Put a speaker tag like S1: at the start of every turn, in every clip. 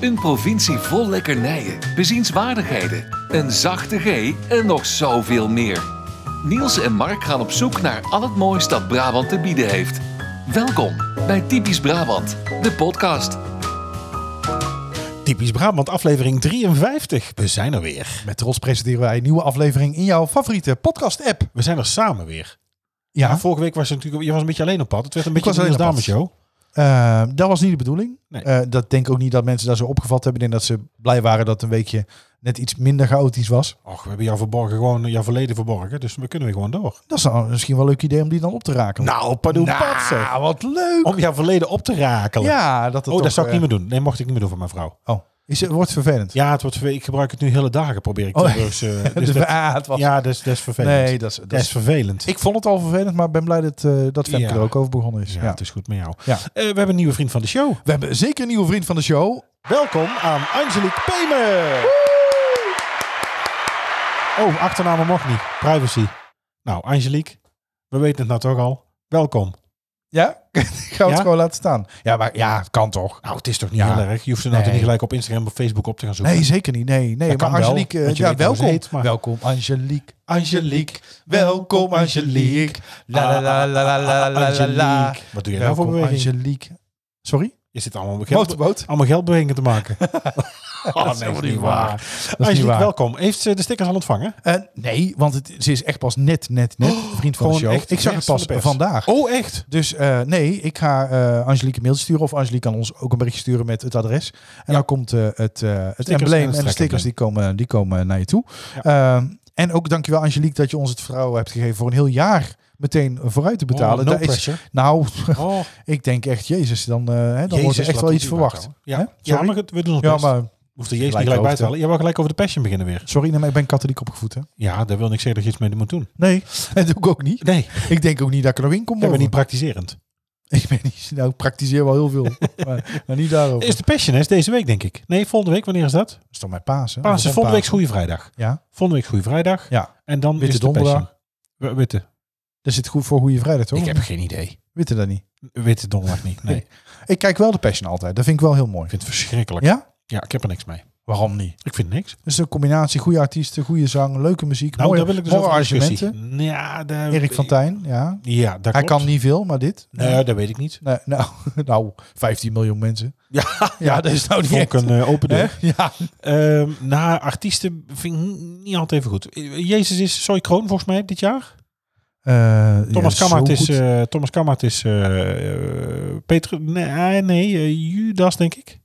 S1: Een provincie vol lekkernijen, bezienswaardigheden, een zachte G en nog zoveel meer. Niels en Mark gaan op zoek naar al het moois dat Brabant te bieden heeft. Welkom bij Typisch Brabant, de podcast.
S2: Typisch Brabant, aflevering 53. We zijn er weer.
S3: Met Trots presenteren wij een nieuwe aflevering in jouw favoriete podcast-app.
S2: We zijn er samen weer.
S3: Ja,
S2: Maar vorige week was je natuurlijk je was een beetje alleen op pad. Het werd een beetje
S3: was
S2: een
S3: alleen op pad.
S2: dameshow.
S3: eh, dat was niet de bedoeling.
S2: Nee.
S3: Eh, dat denk ik ook niet dat mensen daar zo opgevat hebben. Ik denk dat ze blij waren dat het een weekje net iets minder chaotisch was.
S2: Och, we hebben jou verborgen, gewoon eh, jouw verleden verborgen. Dus we kunnen weer gewoon door.
S3: Dat is dan misschien wel een leuk idee om die dan op te raken.
S2: Nou, padoe pat, zeg.
S3: nou wat leuk.
S2: Om jouw verleden op te rakelen.
S3: ja, dat het
S2: oh,
S3: toch,
S2: dat zou ik
S3: eh,
S2: niet meer doen. Nee, mocht ik niet meer doen van mijn vrouw.
S3: Oh, is, het wordt vervelend.
S2: Ja, het wordt, verve- ik gebruik het nu hele dagen, probeer ik.
S3: Oh,
S2: dus, eh, dus
S3: Dus
S2: dat-
S3: ah, het was,
S2: ja, dat is, dat is vervelend.
S3: nee, dat is,
S2: dat is vervelend.
S3: ik vond het al vervelend, maar ben blij dat, eh dat Femke
S2: Ja.
S3: er ook over begonnen is.
S2: ja,
S3: Ja,
S2: het is goed met jou.
S3: Ja.
S2: Eh, we hebben een nieuwe vriend van de show.
S3: We hebben zeker een nieuwe vriend van de show.
S2: Welkom aan Angelique Pemer. Oh, achternamen mag niet. Privacy. Nou, Angelique, we weten het nou toch al. Welkom.
S3: Ja? Gaan we
S2: Ja?
S3: het gewoon laten staan? Ja, maar ja, het kan toch?
S2: Nou, het is toch niet
S3: Ja.
S2: heel erg. Je hoeft ze nou
S3: Nee.
S2: toch niet gelijk op Instagram of Facebook op te gaan zoeken.
S3: Nee, zeker niet. Nee, nee.
S2: Dat
S3: maar
S2: kan wel,
S3: Angelique, eh,
S2: want je
S3: ja,
S2: weet hoe ze
S3: welkom.
S2: heet, maar-
S3: Welkom, Angelique.
S2: Angelique, welkom Angelique.
S3: La, la, la, la, la, la, la, la, la.
S2: Ah, Angelique. Wat doe je nou voor
S3: Welkom,
S2: beweging?
S3: Angelique. Sorry?
S2: Is dit allemaal met geld,
S3: Motorboot.
S2: allemaal geldbewegingen te maken? oh, dat
S3: helemaal niet waar. Dat is niet
S2: Angelique,
S3: waar.
S2: welkom. Heeft ze de stickers al ontvangen?
S3: Eh, nee, want het, ze is echt pas net, net, net vriend van
S2: gewoon
S3: de show.
S2: echt
S3: Oh, ik zag
S2: vers
S3: het
S2: van
S3: pas
S2: de pers.
S3: vandaag.
S2: Oh, echt?
S3: Dus eh, nee, ik ga eh, Angelique een mailtje sturen. Of Angelique kan ons ook een berichtje sturen met het adres. En dan komt eh, het, eh, het
S2: en
S3: embleem
S2: het
S3: en de stickers die komen, die komen naar je toe. Ehm, en ook dankjewel Angelique dat je ons het vertrouwen hebt gegeven voor een heel jaar meteen vooruit te betalen.
S2: Oh, no
S3: Daar is-
S2: pressure.
S3: nou,
S2: Oh,
S3: ik denk echt, Jezus, dan, eh, hè, dan wordt
S2: Jezus,
S3: er echt
S2: laat
S3: wel
S2: ons
S3: iets
S2: die
S3: verwacht.
S2: wachten.
S3: Hè?
S2: Ja, ja
S3: Sorry?
S2: maar goed, we doen ons
S3: Ja,
S2: best.
S3: maar
S2: Hoeft er Jezus niet
S3: Gelijk
S2: gelijk bij
S3: hoofd,
S2: te halen. Je wil gelijk over de passion beginnen weer.
S3: sorry, nee, maar ik ben katholiek opgevoed. Hè?
S2: Ja, daar wil ik zeggen dat je iets mee moet doen.
S3: Nee, dat doe ik ook niet.
S2: Nee,
S3: Ik denk ook niet dat ik er nog in kom.
S2: ik ben
S3: boven.
S2: niet praktiserend.
S3: ik ben niet, nou, ik praktiseer wel heel veel, maar, maar niet daarover.
S2: Is de passion hè? Is deze week, denk ik. Nee, volgende week. Wanneer is dat?
S3: is toch mijn paas, hè?
S2: Paas is
S3: Of
S2: volgende week
S3: Pasen.
S2: is Goede Vrijdag.
S3: Ja.
S2: Volgende week Goede Vrijdag.
S3: Ja.
S2: En dan
S3: Witte
S2: is de
S3: Donderdag.
S2: passion. W- Witte.
S3: Dat zit goed voor Goede Vrijdag, toch?
S2: geen idee.
S3: Witte dat niet.
S2: Witte donderdag niet. Nee, ik
S3: Ik kijk wel de Passion altijd. Dat vind ik wel heel mooi.
S2: vind het verschrikkelijk.
S3: Ja?
S2: Ja, ik heb er niks mee.
S3: Waarom niet?
S2: Ik vind niks.
S3: Dus een combinatie goede artiesten, goede zang, leuke muziek,
S2: Nou,
S3: mooie,
S2: daar wil ik dus
S3: mooie
S2: over een discussie.
S3: arrangementen.
S2: Ja, daar-
S3: Erik van Tijn, ja.
S2: Ja, dat
S3: Hij
S2: klopt.
S3: kan niet veel, maar dit.
S2: Nee, dat weet ik niet.
S3: Nee, nou, nou, 15 miljoen mensen.
S2: Ja,
S3: Ja, dat is nou niet
S2: vond ik
S3: echt.
S2: een eh, open deur.
S3: Hè? Ja,
S2: Ehm na artiesten vind ik niet altijd even goed. Jezus is Soy Kroon volgens mij dit jaar.
S3: Eh,
S2: Thomas
S3: ja, zo
S2: Kammert is,
S3: goed.
S2: eh, Thomas Kammert is eh, eh, Peter, nee, nee eh, Judas denk ik.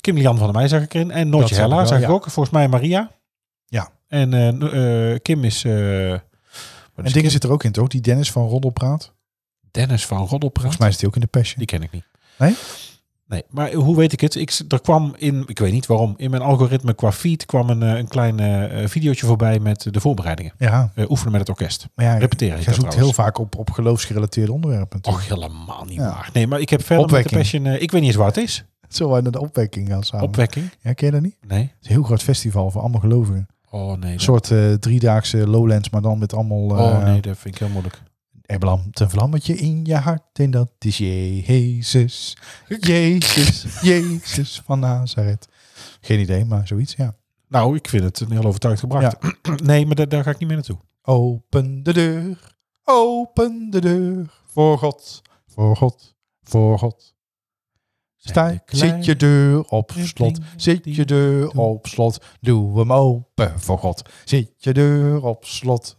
S2: Kim Lian van der Meij zag ik erin. En Noortje
S3: Dat zag ik
S2: Hella
S3: wel,
S2: zag ik
S3: ja.
S2: ook. Volgens mij Maria.
S3: Ja.
S2: En eh, no- eh, Kim is... eh, wat
S3: en
S2: is
S3: dingen
S2: Kim?
S3: zit er ook in, toch? Die Dennis van Roddelpraat.
S2: Dennis van Roddelpraat.
S3: Volgens mij zit hij ook in de Passion.
S2: Die ken ik niet.
S3: Nee?
S2: Nee, maar hoe weet ik het? Ik, er kwam in, ik weet niet waarom, in mijn algoritme qua feed kwam een, eh, een klein eh, eh, videootje voorbij met de voorbereidingen.
S3: Ja,
S2: Eh, oefenen met het orkest.
S3: maar ja,
S2: Repeteren. heet
S3: jij
S2: dat
S3: zoekt heel
S2: trouwens.
S3: vaak op, op geloofsgerelateerde onderwerpen.
S2: Och, helemaal niet
S3: Ja.
S2: waar. Nee, maar ik heb verder
S3: Opwekking.
S2: met de Passion... eh, ik weet niet eens waar het is.
S3: Zo wij naar de opwekking gaan samen.
S2: Opwekking?
S3: ja, ken je dat niet?
S2: Nee.
S3: Het is een heel groot festival voor allemaal gelovigen.
S2: Oh nee.
S3: Een
S2: dat-
S3: soort eh, driedaagse Lowlands, maar dan met allemaal... eh
S2: oh nee, dat vind ik heel moeilijk.
S3: Er brandt een vlammetje in je hart en dat is Jezus. Jezus, Jezus van Nazareth. Geen idee, maar zoiets, ja.
S2: Nou, ik vind het een heel overtuigd gebracht. nee, maar daar, daar ga ik niet meer naartoe.
S3: Open de deur, open de deur, voor God, voor God, voor God. Sta,
S2: de kleine
S3: zit je deur op
S2: dingen
S3: slot, zit
S2: die
S3: je deur op slot, doe hem open voor God. Zit je deur op slot.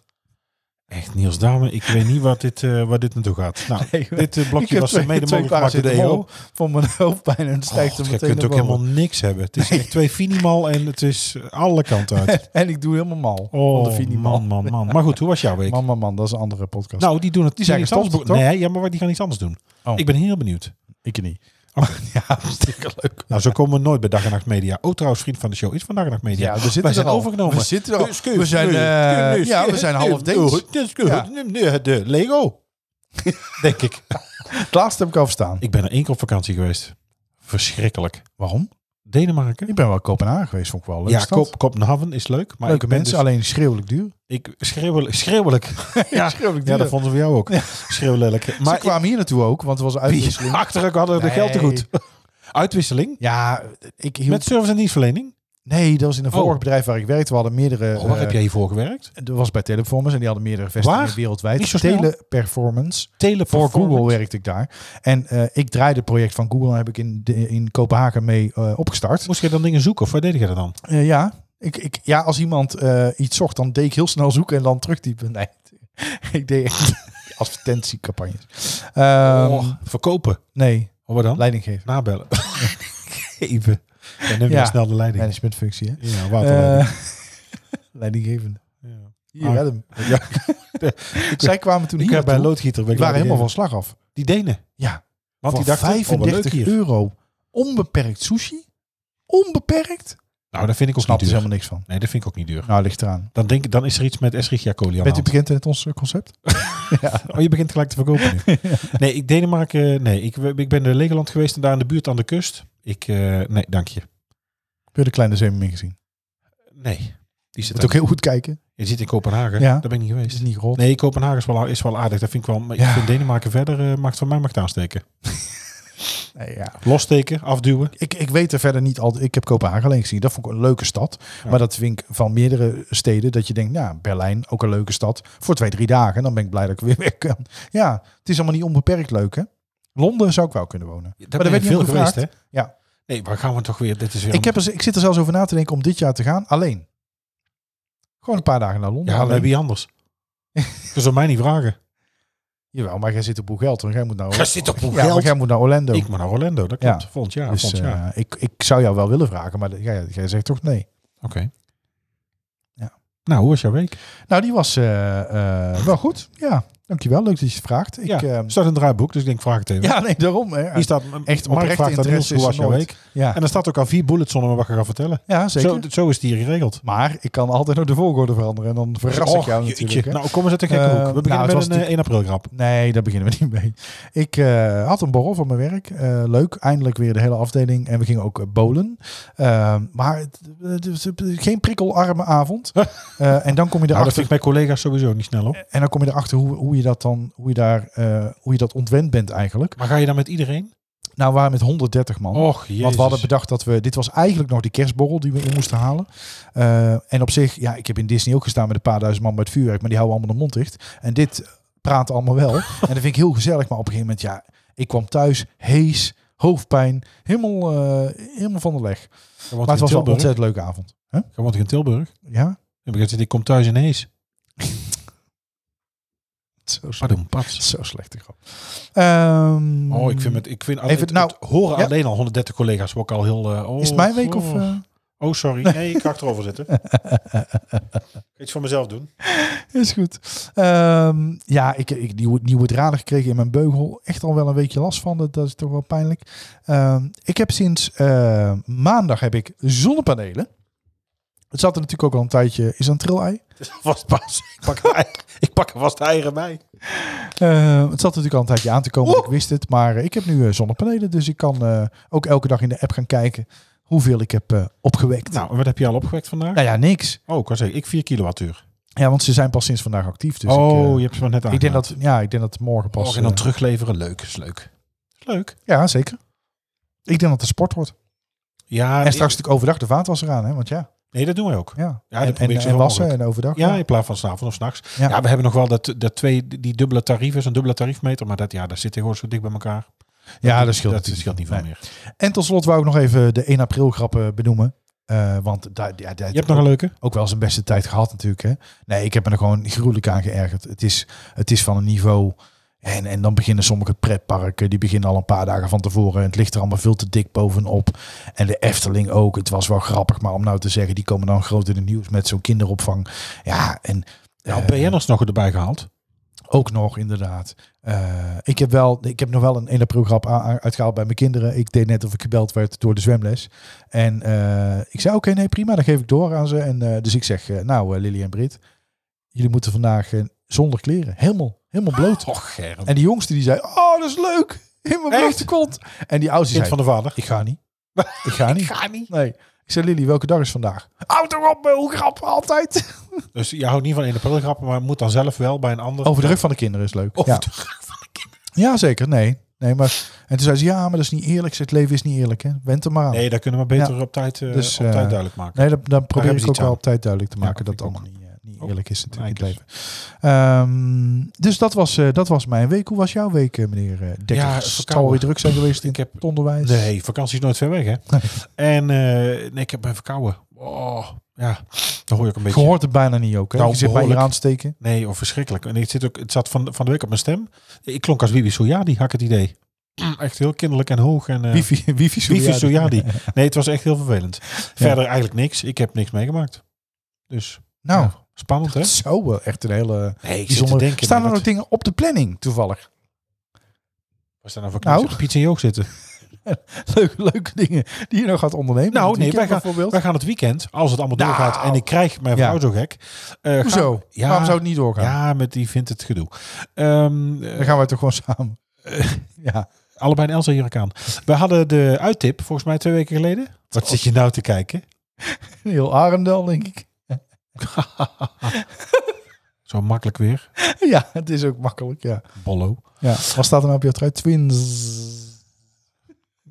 S2: Echt, Niels Dame, ik weet niet wat dit, eh waar dit naartoe gaat. Nou, dit eh, blokje was
S3: twee-
S2: mede
S3: twee
S2: mogelijk gemaakt door de
S3: paracetamol
S2: EO.
S3: Voor mijn hoofdpijn en het stijgt
S2: God,
S3: er
S2: je
S3: meteen
S2: kunt ook
S3: naar boven.
S2: helemaal niks hebben. Het is echt twee finimal en het is alle kanten uit.
S3: En ik doe helemaal mal. Want dat
S2: Oh,
S3: vind ik niet
S2: man, man, man. Maar goed, hoe was jouw
S3: mal.
S2: week?
S3: Man, man, man, dat is een andere podcast.
S2: Nou, die doen het. Die
S3: zijn
S2: iets anders.
S3: gestopt,
S2: be-
S3: toch?
S2: Nee, ja, maar die gaan iets anders doen.
S3: Oh.
S2: Ik ben heel benieuwd.
S3: ik niet.
S2: Oké.
S3: Ja, hartstikke leuk.
S2: Nou, zo komen we nooit bij Dag en Nacht Media. Oh, trouwens, vriend van de show is van Dag en Nacht Media.
S3: Ja, we zitten
S2: Wij zijn
S3: er al.
S2: overgenomen.
S3: We zitten er al.
S2: Dus kun-
S3: We zijn,
S2: nu-
S3: eh,
S2: nu-
S3: ja, we
S2: nu-
S3: zijn
S2: nu-
S3: half Deens.
S2: dus kun-
S3: Ja.
S2: nu- nu- De Lego. Denk ik.
S3: Het laatste heb ik afstaan.
S2: Ik ben er één keer op vakantie geweest. Verschrikkelijk.
S3: Waarom?
S2: Denemarken.
S3: Ik ben wel in Kopenhagen geweest, vond ik wel een leuke
S2: Ja,
S3: stad.
S2: Kop, Kopenhaven is leuk. Maar
S3: Leuke
S2: ik ben
S3: mensen,
S2: dus-
S3: alleen schreeuwelijk duur.
S2: ik, schreeuwelijk. schreeuwelijk. ja,
S3: schreeuwelijk
S2: ja, dat vonden we jou ook. Schreeuwelijk.
S3: Maar
S2: Maar
S3: Ze kwamen hier naartoe ook, want er was een
S2: ik,
S3: uitwisseling.
S2: achterlijk hadden we de geld te goed. Uitwisseling?
S3: Ja, ik hield...
S2: Met service en dienstverlening?
S3: Nee, dat was in een
S2: Oh.
S3: vorig bedrijf waar ik werkte. We hadden meerdere...
S2: Oh, waar
S3: eh,
S2: heb jij hiervoor gewerkt?
S3: Dat was bij Teleperformance en die hadden meerdere vestigingen
S2: Waar?
S3: wereldwijd.
S2: Niet zo snel.
S3: Teleperformance. Voor
S2: Teleport
S3: Google werkte ik daar. En eh, ik draaide het project van Google en heb ik in, de- in Kopenhagen mee eh, opgestart.
S2: Moest je dan dingen zoeken of waar deed je dat dan?
S3: Eh, ja. Ik, ik, ja, als iemand eh, iets zocht, dan deed ik heel snel zoeken en dan terugtypen. Nee, ik deed echt advertentiecampagnes. Ehm,
S2: Oh, verkopen.
S3: Nee,
S2: Of wat dan?
S3: leidinggever.
S2: Nabellen. Even. En neem je
S3: Ja.
S2: dan snel de leiding.
S3: Managementfunctie, hè?
S2: Ja,
S3: Eh
S2: waterleiding.
S3: leidinggevende.
S2: Ja.
S3: Eh, Hier,
S2: Ah.
S3: red hem.
S2: Ja.
S3: Zij kwamen toen
S2: Ik
S3: hier
S2: heb bij een
S3: bij
S2: loodgieter. ben
S3: Die
S2: ik
S3: waren helemaal
S2: leiding-
S3: van slag af.
S2: Die Denen.
S3: Ja,
S2: Want die
S3: voor
S2: dachten, 35 leuk
S3: 35
S2: hier.
S3: euro onbeperkt sushi. Onbeperkt.
S2: Nou, dat vind ik ook
S3: Snap er
S2: niet duur.
S3: helemaal niks van.
S2: Nee, dat vind ik ook niet duur.
S3: Nou, ligt eraan.
S2: Dan, denk, ik- dan is er iets met Esrichia Coli aan de
S3: Bent u
S2: hand.
S3: bekend met ons eh, concept?
S2: Oh, je begint gelijk te verkopen nu. Nee, ik Denemarken... Nee, ik, ik ben naar Legoland geweest en daar in de buurt aan de kust. Ik... eh, nee, dank je.
S3: Heb je de kleine zeemermin gezien?
S2: Nee. Die zit
S3: Moet ook heel goed kijken.
S2: Je zit in Kopenhagen.
S3: Ja.
S2: Daar ben ik niet
S3: Is
S2: geweest.
S3: het niet rot?
S2: Nee, Kopenhagen is wel, is wel aardig. Dat vind ik wel. Maar
S3: Ja.
S2: ik vind Denemarken verder eh, mag het van mij mag het aansteken.
S3: Nee, ja.
S2: Lossteken, afduwen.
S3: ik, ik weet er verder niet al. Ik heb Kopenhagen alleen gezien. Dat vond ik een leuke stad.
S2: Ja.
S3: Maar dat vind ik van meerdere steden. Dat je denkt, nou, Berlijn, ook een leuke stad. Voor twee, drie dagen. Dan ben ik blij dat ik weer weg kan. Ja, het is allemaal niet onbeperkt leuk, hè? Londen zou ik wel kunnen wonen.
S2: Daar
S3: ben je
S2: veel
S3: niet
S2: geweest, hè?
S3: gevraagd. Ja.
S2: Nee, waar gaan we toch weer? Dit is weer.
S3: Ik, heb er, ik zit er zelfs over na te denken om dit jaar te gaan. Alleen. Gewoon een paar dagen naar Londen.
S2: ja,
S3: Alleen.
S2: bij wie anders? Je zou mij niet vragen.
S3: Jawel, maar jij zit op Boegeld. hoor. Jij moet naar
S2: Jij Oh. zit op
S3: Ja,
S2: Boegeld?
S3: maar jij moet naar Orlando.
S2: Ik maar naar Orlando. Dat klopt.
S3: Ja.
S2: Volgend jaar.
S3: dus
S2: volgend jaar.
S3: eh, ik, ik zou jou wel willen vragen, maar jij, jij zegt toch nee.
S2: Oké.
S3: Ja.
S2: Nou, hoe was jouw week?
S3: Nou, die was eh, eh, wel goed. Ja, dankjewel. Leuk dat je het vraagt. Ik,
S2: ja.
S3: eh,
S2: Er staat een draaiboek, dus ik denk vraag het even.
S3: ja nee, daarom. Hè.
S2: Hier staat
S3: Echt
S2: eh, echt oprecht
S3: oprechte
S2: vraagt aan Niels,
S3: interesse
S2: hoe was
S3: is er
S2: jouw
S3: nooit.
S2: week?
S3: Ja,
S2: En er staat ook al vier bullets zonder wat ik ga vertellen.
S3: ja zeker.
S2: Zo, zo is het hier geregeld.
S3: maar ik kan altijd nog de volgorde veranderen en dan verras ik
S2: Och,
S3: jou
S2: jeetje.
S3: natuurlijk. hè.
S2: Nou, kom eens uit de gekke
S3: Eh,
S2: hoek. We
S3: nou,
S2: beginnen
S3: het
S2: met
S3: was
S2: een eh, 1 april grap.
S3: Nee, daar beginnen we niet mee. Ik eh, had een borrel van mijn werk. Eh, leuk, eindelijk weer de hele afdeling. En we gingen ook eh, bowlen. Eh, maar het- het is geen prikkelarme avond. Eh, en dan kom
S2: Nou,
S3: je
S2: dat
S3: erachter
S2: vind ik bij collega's sowieso niet snel op.
S3: En dan kom je erachter hoe, hoe je dat dan, hoe je daar, eh, hoe je dat ontwend bent eigenlijk.
S2: Maar ga je dan met iedereen?
S3: Nou, we waren met 130 man.
S2: Och, Oh, jezus.
S3: Want we hadden bedacht dat we... Dit was eigenlijk nog die kerstborrel die we in moesten halen. Eh, en op zich, ja, ik heb in Disney ook gestaan met een paar duizend man met vuurwerk. Maar die houden allemaal de mond dicht. En dit praat allemaal wel. en dat vind ik heel gezellig. Maar op een gegeven moment, ja, ik kwam thuis, hees, hoofdpijn. Helemaal, eh, helemaal van de leg.
S2: Je woont in
S3: Maar het was wel een
S2: Tilburg.
S3: ontzettend leuke avond. Huh?
S2: Je woont in Tilburg.
S3: Ja?
S2: Dan heb ik gezegd, ik kom thuis ineens.
S3: Zo slecht.
S2: Pardon, pats.
S3: Zo slecht. grap. Ehm,
S2: Oh, ik vind het, ik vind
S3: Even-
S2: het,
S3: nou,
S2: het horen
S3: ja.
S2: alleen al 130 collega's wordt al heel... eh, oh,
S3: Is het mijn week of...
S2: goh.
S3: eh,
S2: Oh, sorry. Nee, ik ga achterover zitten. Ik ga Iets voor mezelf doen.
S3: Is goed. Ehm, ja, ik, ik nieuwe, nieuwe draden gekregen in mijn beugel. Echt al wel een weekje last van. Dat, dat is toch wel pijnlijk. Ehm, ik heb sinds eh, maandag heb ik zonnepanelen. Het zat er natuurlijk ook al een tijdje. Is dat een trillei?
S2: Het is alvast pas. Ik pak, een ei- ik pak er vast eieren bij.
S3: Eh, het zat natuurlijk al een tijdje aan te komen. want Ik wist het. Maar eh, ik heb nu eh, zonnepanelen. Dus ik kan eh, ook elke dag in de app gaan kijken hoeveel ik heb eh, opgewekt. Nou.
S2: Nou, en wat heb je al opgewekt vandaag?
S3: ja, niks.
S2: Oh, ik kan zeggen, ik 4 kilowattuur.
S3: Ja, want ze zijn pas sinds vandaag actief. Dus
S2: oh,
S3: ik, eh,
S2: je hebt ze maar net aan.
S3: ik, denk dat, ja, ik denk dat morgen pas...
S2: Morgen en dan
S3: eh,
S2: terugleveren, leuk. Is leuk. Is leuk.
S3: ja, zeker. Ik denk dat het sport wordt.
S2: Ja,
S3: En straks natuurlijk overdag de vaatwasser aan, hè? Want ja,
S2: Nee, dat doen we ook.
S3: ja.
S2: Ja, dat
S3: en,
S2: probeer ik
S3: en,
S2: zoveel
S3: en wassen
S2: mogelijk.
S3: en overdag.
S2: Ja, in plaats van s'avonds of s'nachts. Ja.
S3: Ja.
S2: ja, we hebben nog wel dat, dat twee, die dubbele tarief is, een dubbele tariefmeter. Maar dat, ja, dat zit tegenwoordig zo dicht bij elkaar.
S3: ja, dat scheelt
S2: Dat
S3: natuurlijk
S2: scheelt niet veel
S3: Nee.
S2: meer.
S3: En tot slot wou ik nog even de 1 april grappen benoemen. Eh, want daar ja, daar
S2: Je hebt nog een leuke?
S3: ook wel zijn beste tijd gehad natuurlijk. Hè? Nee, ik heb me er gewoon gruwelijk aan geërgerd. Het is, het is van een niveau... En, en dan beginnen sommige pretparken, die beginnen al een paar dagen van tevoren. En het ligt er allemaal veel te dik bovenop. En de Efteling ook. Het was wel grappig, maar om nou te zeggen, die komen dan groot in het nieuws met zo'n kinderopvang. Ja, Oh, en...
S2: Nou,
S3: eh,
S2: BN'ers nog erbij gehaald.
S3: Ook nog, inderdaad. Eh, ik, heb wel, ik heb nog wel een 1 april grap a- a- uitgehaald bij mijn kinderen. Ik deed net of ik gebeld werd door de zwemles. En eh, ik zei, oké, nee, prima, dan geef ik door aan ze. En, eh, dus ik zeg, eh, nou, eh, Lily en Brit, jullie moeten vandaag eh, zonder kleren. Helemaal, helemaal bloot.
S2: Och, Germ.
S3: En die jongste die zei, oh, dat is leuk. Helemaal
S2: Echt?
S3: blote kont. En die oudste
S2: Kind
S3: zei,
S2: van de vader.
S3: ik ga niet. Ik ga niet.
S2: ga niet.
S3: Nee. Ik zei, Lily, welke dag is vandaag? Houd toch op, eh, hoe grap altijd.
S2: Dus je houdt niet van 1 april grappen, maar moet dan zelf wel bij een ander.
S3: Over de rug van de kinderen is leuk.
S2: Over
S3: ja.
S2: de rug van de kinderen.
S3: Ja, zeker. Nee. Nee, maar, en toen zei ze, ja, maar dat is niet eerlijk. Ik Zei, het leven is niet eerlijk, hè. Wend er maar aan. Nee,
S2: Nee, daar kunnen we beter op, tijd, eh,
S3: Dus,
S2: op
S3: eh,
S2: tijd duidelijk maken.
S3: dat, dan probeer
S2: hebben
S3: ik
S2: ze
S3: ook
S2: iets
S3: wel
S2: aan.
S3: op tijd duidelijk te
S2: Ja,
S3: maken dat
S2: ik
S3: het allemaal niet, eh, niet
S2: Oh,
S3: eerlijk is natuurlijk in het leven.
S2: Eikers.
S3: Ehm, dus dat was, eh, dat was mijn week. Hoe was jouw week, eh, meneer eh, Dekker?
S2: Ja,
S3: Ja, het
S2: verkouden.
S3: zal weer druk zijn geweest in
S2: Ik heb-
S3: het onderwijs.
S2: Nee, vakantie is nooit ver weg, hè? En eh, nee, ik heb mij verkouden. Oh, ja, dan hoor je ook een beetje.
S3: Je hoort het bijna niet ook, hè?
S2: Nou,
S3: je zit bij
S2: behoorlijk.
S3: hier aansteken.
S2: Nee, of verschrikkelijk. En het, zit ook, het zat van, van de week op mijn stem. Ik klonk als Bibi Soyadi, had ik het idee. Echt heel kinderlijk en hoog. En, eh,
S3: Wifi, wifi,
S2: Bibi
S3: Soriadi.
S2: Soyadi. Nee, het was echt heel vervelend. Verder eigenlijk niks. Ik heb niks meegemaakt. Dus
S3: Nou,
S2: ja, spannend, hè?
S3: dat zou wel echt een hele
S2: Nee, ik
S3: bijzondere... Staan er
S2: maar
S3: nog dingen op de planning, toevallig?
S2: wat- Wat staan er voor
S3: Nou?
S2: nou? Piet en Joog zitten.
S3: Leuke, leuke dingen die je nog gaat ondernemen.
S2: Nou,
S3: Dit
S2: nee,
S3: weekend
S2: wij
S3: bijvoorbeeld.
S2: Wij gaan het weekend, als het allemaal doorgaat,
S3: Nou.
S2: en ik krijg mijn
S3: Ja.
S2: vrouw zo gek. eh, gaan-
S3: Hoezo?
S2: Ja.
S3: Waarom zou het niet doorgaan?
S2: Ja, met die vindt het gedoe. Ehm, eh,
S3: Dan gaan wij toch gewoon samen. ja.
S2: allebei een Elsa Hurricane. We hadden de uittip volgens mij twee weken geleden. Wat zit je nou te kijken?
S3: Heel Arendel, denk ik.
S2: Zo makkelijk weer.
S3: ja, het is ook makkelijk, ja.
S2: Bollo.
S3: ja. Wat staat er nou op je truit? Twins.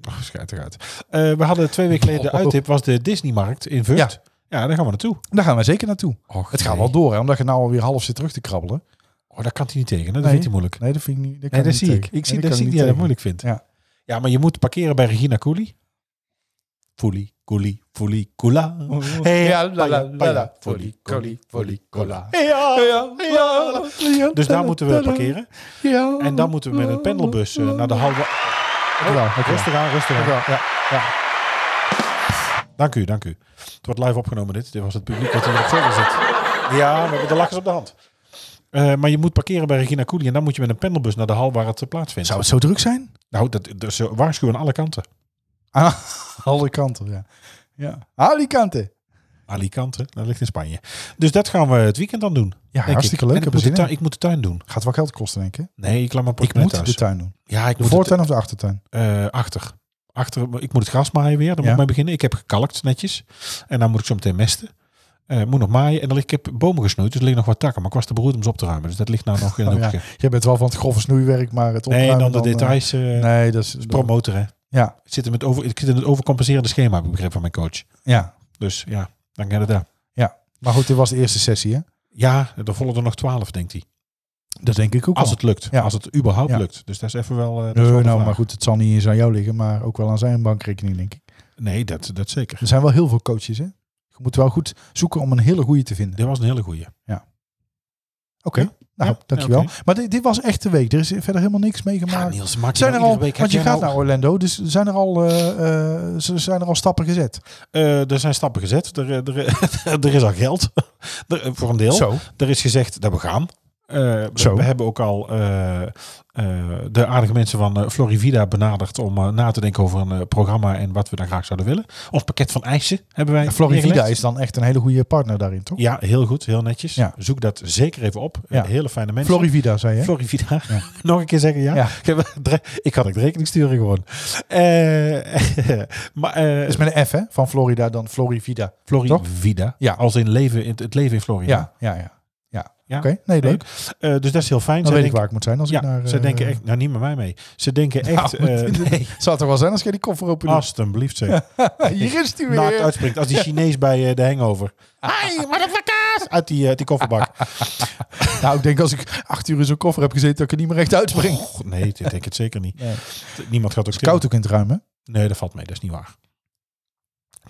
S2: Oh, schijt eruit. Eh, we hadden twee weken geleden de
S3: Bollo.
S2: uittip was de Disneymarkt in Vught. Ja. daar gaan we naartoe.
S3: Daar gaan wij zeker naartoe.
S2: Och,
S3: Het gaat wel door, hè? Omdat je nou alweer half zit terug te krabbelen.
S2: Oh, daar kan hij niet tegen. hè? Dat
S3: Nee.
S2: vindt hij moeilijk.
S3: Nee, dat vind ik niet. Dat kan
S2: Nee, dat
S3: niet
S2: zie
S3: tegen.
S2: ik. Ik zie
S3: Nee,
S2: dat,
S3: kan
S2: zie
S3: niet
S2: ik dat hij dat
S3: tegen.
S2: moeilijk vindt.
S3: Ja.
S2: ja, maar je moet parkeren bij Regina Cooley. Foelie, Cooley, Foelie, Cola. Hey,
S3: Ja, la, la, la, la.
S2: Folie,
S3: Coli, coli, cola.
S2: Ja.
S3: Ja, ja, ja.
S2: Dus daar moeten we
S3: Tada, tada.
S2: parkeren.
S3: Ja.
S2: En dan moeten we met een pendelbus eh, naar de hal.
S3: Dankjewel, dankjewel.
S2: Rustig aan, rustig aan.
S3: Dankjewel, ja, ja.
S2: Dank u, dank u. Het wordt live opgenomen dit. Dit was het publiek dat hier op zolder zit. Ja, we hebben de lachers op de hand. Eh, maar je moet parkeren bij Regina Cooley en dan moet je met een pendelbus naar de hal waar het eh, plaatsvindt.
S3: Zou het zo druk zijn?
S2: Nou, dat, dat ze waarschuwen aan alle kanten.
S3: Aan Ah, alle kanten, ja. ja. Alicante.
S2: Alicante, dat ligt in Spanje. Dus dat gaan we het weekend dan doen. denk
S3: Ja,
S2: ik.
S3: hartstikke
S2: En
S3: leuk.
S2: Ik,
S3: Heb er
S2: moet de
S3: zin in.
S2: tuin, ik moet de tuin doen.
S3: Gaat wel geld kosten, denk ik. hè?
S2: Nee, ik laat mijn
S3: Ik
S2: portemonnee
S3: moet
S2: thuis.
S3: de tuin doen.
S2: ja, ik
S3: De
S2: moet het,
S3: voortuin of de achtertuin?
S2: eh, achter. achter. Ik moet het gras maaien weer. Daar moet
S3: Ja.
S2: ik mee beginnen. Ik heb gekalkt netjes. En dan moet ik zo meteen mesten. Eh, moet nog maaien. En dan lig, ik heb bomen gesnoeid. Dus er liggen nog wat takken. Maar ik was te beroerd om ze op te ruimen. Dus dat ligt nou nog in een
S3: Oh, ja.
S2: hoekje.
S3: Jij bent wel van het grove snoeiwerk, maar het
S2: Nee,
S3: opruimen...
S2: en dan de
S3: eh,
S2: details. eh
S3: Nee, dat is...
S2: Promotor, hè.
S3: Ja,
S2: Ik zit, in het over, ik zit in het overcompenserende schema, heb ik begrepen van mijn coach.
S3: ja.
S2: Dus ja, dan gaat het daar.
S3: Maar goed, dit was de eerste sessie, hè?
S2: Ja, er volgen er nog twaalf, denkt hij.
S3: Dat denk ik ook
S2: Als het lukt.
S3: Ja.
S2: Als het überhaupt
S3: Ja.
S2: lukt. Dus dat is even wel... eh, dat is
S3: Nee,
S2: wel de
S3: nou,
S2: vraag.
S3: maar goed, het zal niet eens aan jou liggen, maar ook wel aan zijn bankrekening, denk ik.
S2: Nee, dat, dat zeker.
S3: Er zijn wel heel veel coaches, hè? Je moet wel goed zoeken om een hele goede te vinden.
S2: Dit was een hele goeie.
S3: Oké,
S2: Ja.
S3: nou,
S2: Ja,
S3: dankjewel.
S2: oké.
S3: Maar dit, dit was echt de week. Er is verder helemaal niks
S2: Ja,
S3: meegemaakt.
S2: Niels, maak je
S3: zijn er
S2: nou
S3: al,
S2: iedere week-
S3: want je
S2: heb jij
S3: gaat
S2: nou-
S3: naar Orlando, dus zijn er al, eh, eh, z- zijn er al stappen gezet?
S2: Eh, er zijn stappen gezet. Er, eh, er, eh, er is al geld. Er, eh, voor een deel.
S3: Zo.
S2: Er is gezegd dat we gaan. Eh, we,
S3: Zo.
S2: we hebben ook al eh, eh, de aardige mensen van eh, Florivida benaderd om eh, na te denken over een eh, programma en wat we dan graag zouden willen. Ons pakket van eisen hebben wij.
S3: En Florivida
S2: neergelegd.
S3: is dan echt een hele goede partner daarin, toch?
S2: Ja, heel goed, heel netjes.
S3: Ja.
S2: Zoek dat zeker even op. Eh,
S3: Ja.
S2: Hele fijne mensen.
S3: Florivida, zei je?
S2: Florivida. Nog een keer zeggen, ja?
S3: Ja.
S2: Ik, heb- ik had het rekening sturen gewoon. Eh, maar, eh,
S3: Dat is met een F, hè? Van Florida dan Florivida.
S2: Florivida.
S3: Ja.
S2: Als in leven, in het leven in Florida.
S3: Ja, ja, ja. ja.
S2: Ja.
S3: Oké, nee, leuk. Dan
S2: Eh, dus dat is heel fijn. Zij
S3: weet ik
S2: denken-
S3: waar ik moet zijn als
S2: ja,
S3: ik naar...
S2: ze
S3: eh,
S2: denken echt, nou niet met mij mee. Ze denken echt,
S3: Nou,
S2: eh,
S3: dit-
S2: nee,
S3: Het zou toch wel zijn als jij die koffer open doet?
S2: alstublieft zeg.
S3: Hier is die
S2: Naakt
S3: weer.
S2: uitspringt, als die Chinees bij eh, de hangover.
S3: Ah,
S2: Hai, wat een kaas! Uit die, eh, uit die kofferbak.
S3: Nou, ik denk als ik acht uur in zo'n koffer heb gezeten, dat ik er niet meer recht uitspring.
S2: Och, nee, dit denk ik het zeker niet.
S3: Nee.
S2: Niemand gaat ook
S3: Het is koud ook in het ruim, hè?
S2: stillen. Nee, dat valt mee, dat is niet waar.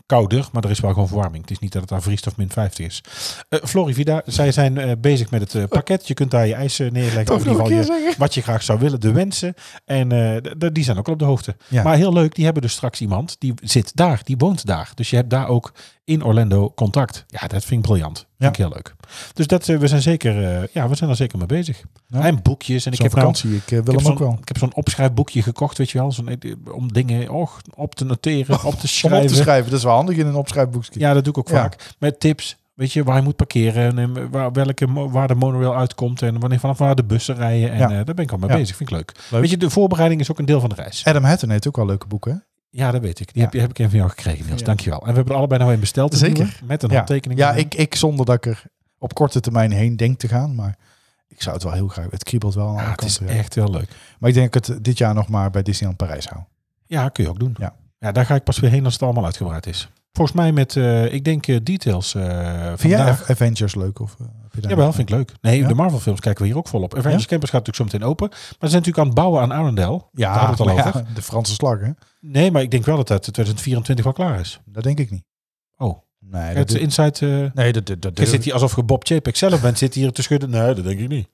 S2: Kouder, maar er is wel gewoon verwarming. Het is niet dat het daar vriest of min 50 is. Eh, Florivida, zij zijn eh, bezig met het eh, pakket. Je kunt daar je eisen neerleggen.
S3: Oh. Toch
S2: Of in ieder
S3: nog een
S2: geval je,
S3: keer zeggen?
S2: wat je graag zou willen, de wensen. En eh, d- d- die zijn ook al op de hoogte.
S3: Ja.
S2: Maar heel leuk, die hebben dus straks iemand die zit daar, die woont daar. Dus je hebt daar ook in Orlando contact. Ja, dat vind ik briljant.
S3: Ja.
S2: Vind ik heel leuk. Dus dat, eh, we zijn zeker, eh, ja, we zijn er zeker mee bezig.
S3: Ja.
S2: En boekjes. En ik
S3: Zo'n
S2: heb nou-
S3: vakantie, ik eh, wil
S2: ik
S3: hem
S2: heb
S3: ook wel.
S2: zo'n- Ik heb zo'n opschrijfboekje gekocht, weet je wel. Zo'n, eh, om dingen och, op te noteren, op te
S3: Om op te
S2: schrijven.
S3: schrijven, dat is wel handig in een opschrijfboekje.
S2: Ja, dat doe ik ook
S3: Ja.
S2: vaak. Met tips. Weet je, waar je moet parkeren en eh, waar, welke, mo- waar de monorail uitkomt en wanneer vanaf waar de bussen rijden. En
S3: Ja.
S2: eh, daar ben ik al mee
S3: Ja.
S2: bezig. Vind ik leuk.
S3: Leuk.
S2: Weet je, de voorbereiding is ook een deel van de reis.
S3: Adam Hatton heeft ook wel leuke boeken, hè?
S2: Ja, dat weet ik. Die
S3: Ja.
S2: heb, heb ik even van jou gekregen, Niels.
S3: Ja.
S2: Dankjewel. En we hebben er allebei nou een besteld. de
S3: Zeker.
S2: nieuwe, Met een
S3: Ja,
S2: handtekening.
S3: ja
S2: erin.
S3: ik, ik zonder dat ik er op korte termijn heen denk te gaan, maar ik zou het wel heel graag. Het kriebelt wel aan alle
S2: Ja, Ah, het is
S3: kanten, ja.
S2: echt heel leuk.
S3: Maar ik denk dat ik het dit jaar nog maar bij Disneyland Parijs hou.
S2: Ja, kun je ook doen.
S3: Ja.
S2: ja, daar ga ik pas weer heen als het allemaal uitgebreid is. Volgens mij met, eh, ik denk, eh, details eh
S3: Vind jij
S2: vandaag.
S3: Av- Avengers leuk? Of, eh, heb je daar-
S2: Jawel, vind ik leuk. Nee,
S3: Ja?
S2: de Marvel films kijken we hier ook volop. Avengers
S3: Ja?
S2: Campus gaat natuurlijk zo meteen open. Maar ze zijn natuurlijk aan het bouwen aan Arendelle.
S3: Ja,
S2: Daar hadden we het al
S3: maar ja,
S2: over.
S3: de Franse slag, hè?
S2: Nee, maar ik denk wel dat het 2024 wel klaar is.
S3: Dat denk ik niet.
S2: Oh,
S3: Nee, dat,
S2: het Inside... eh,
S3: nee, dat, dat, dat
S2: Je zit hier alsof je Bob Chapek zelf bent, zit hier te schudden. Nee, dat denk ik niet.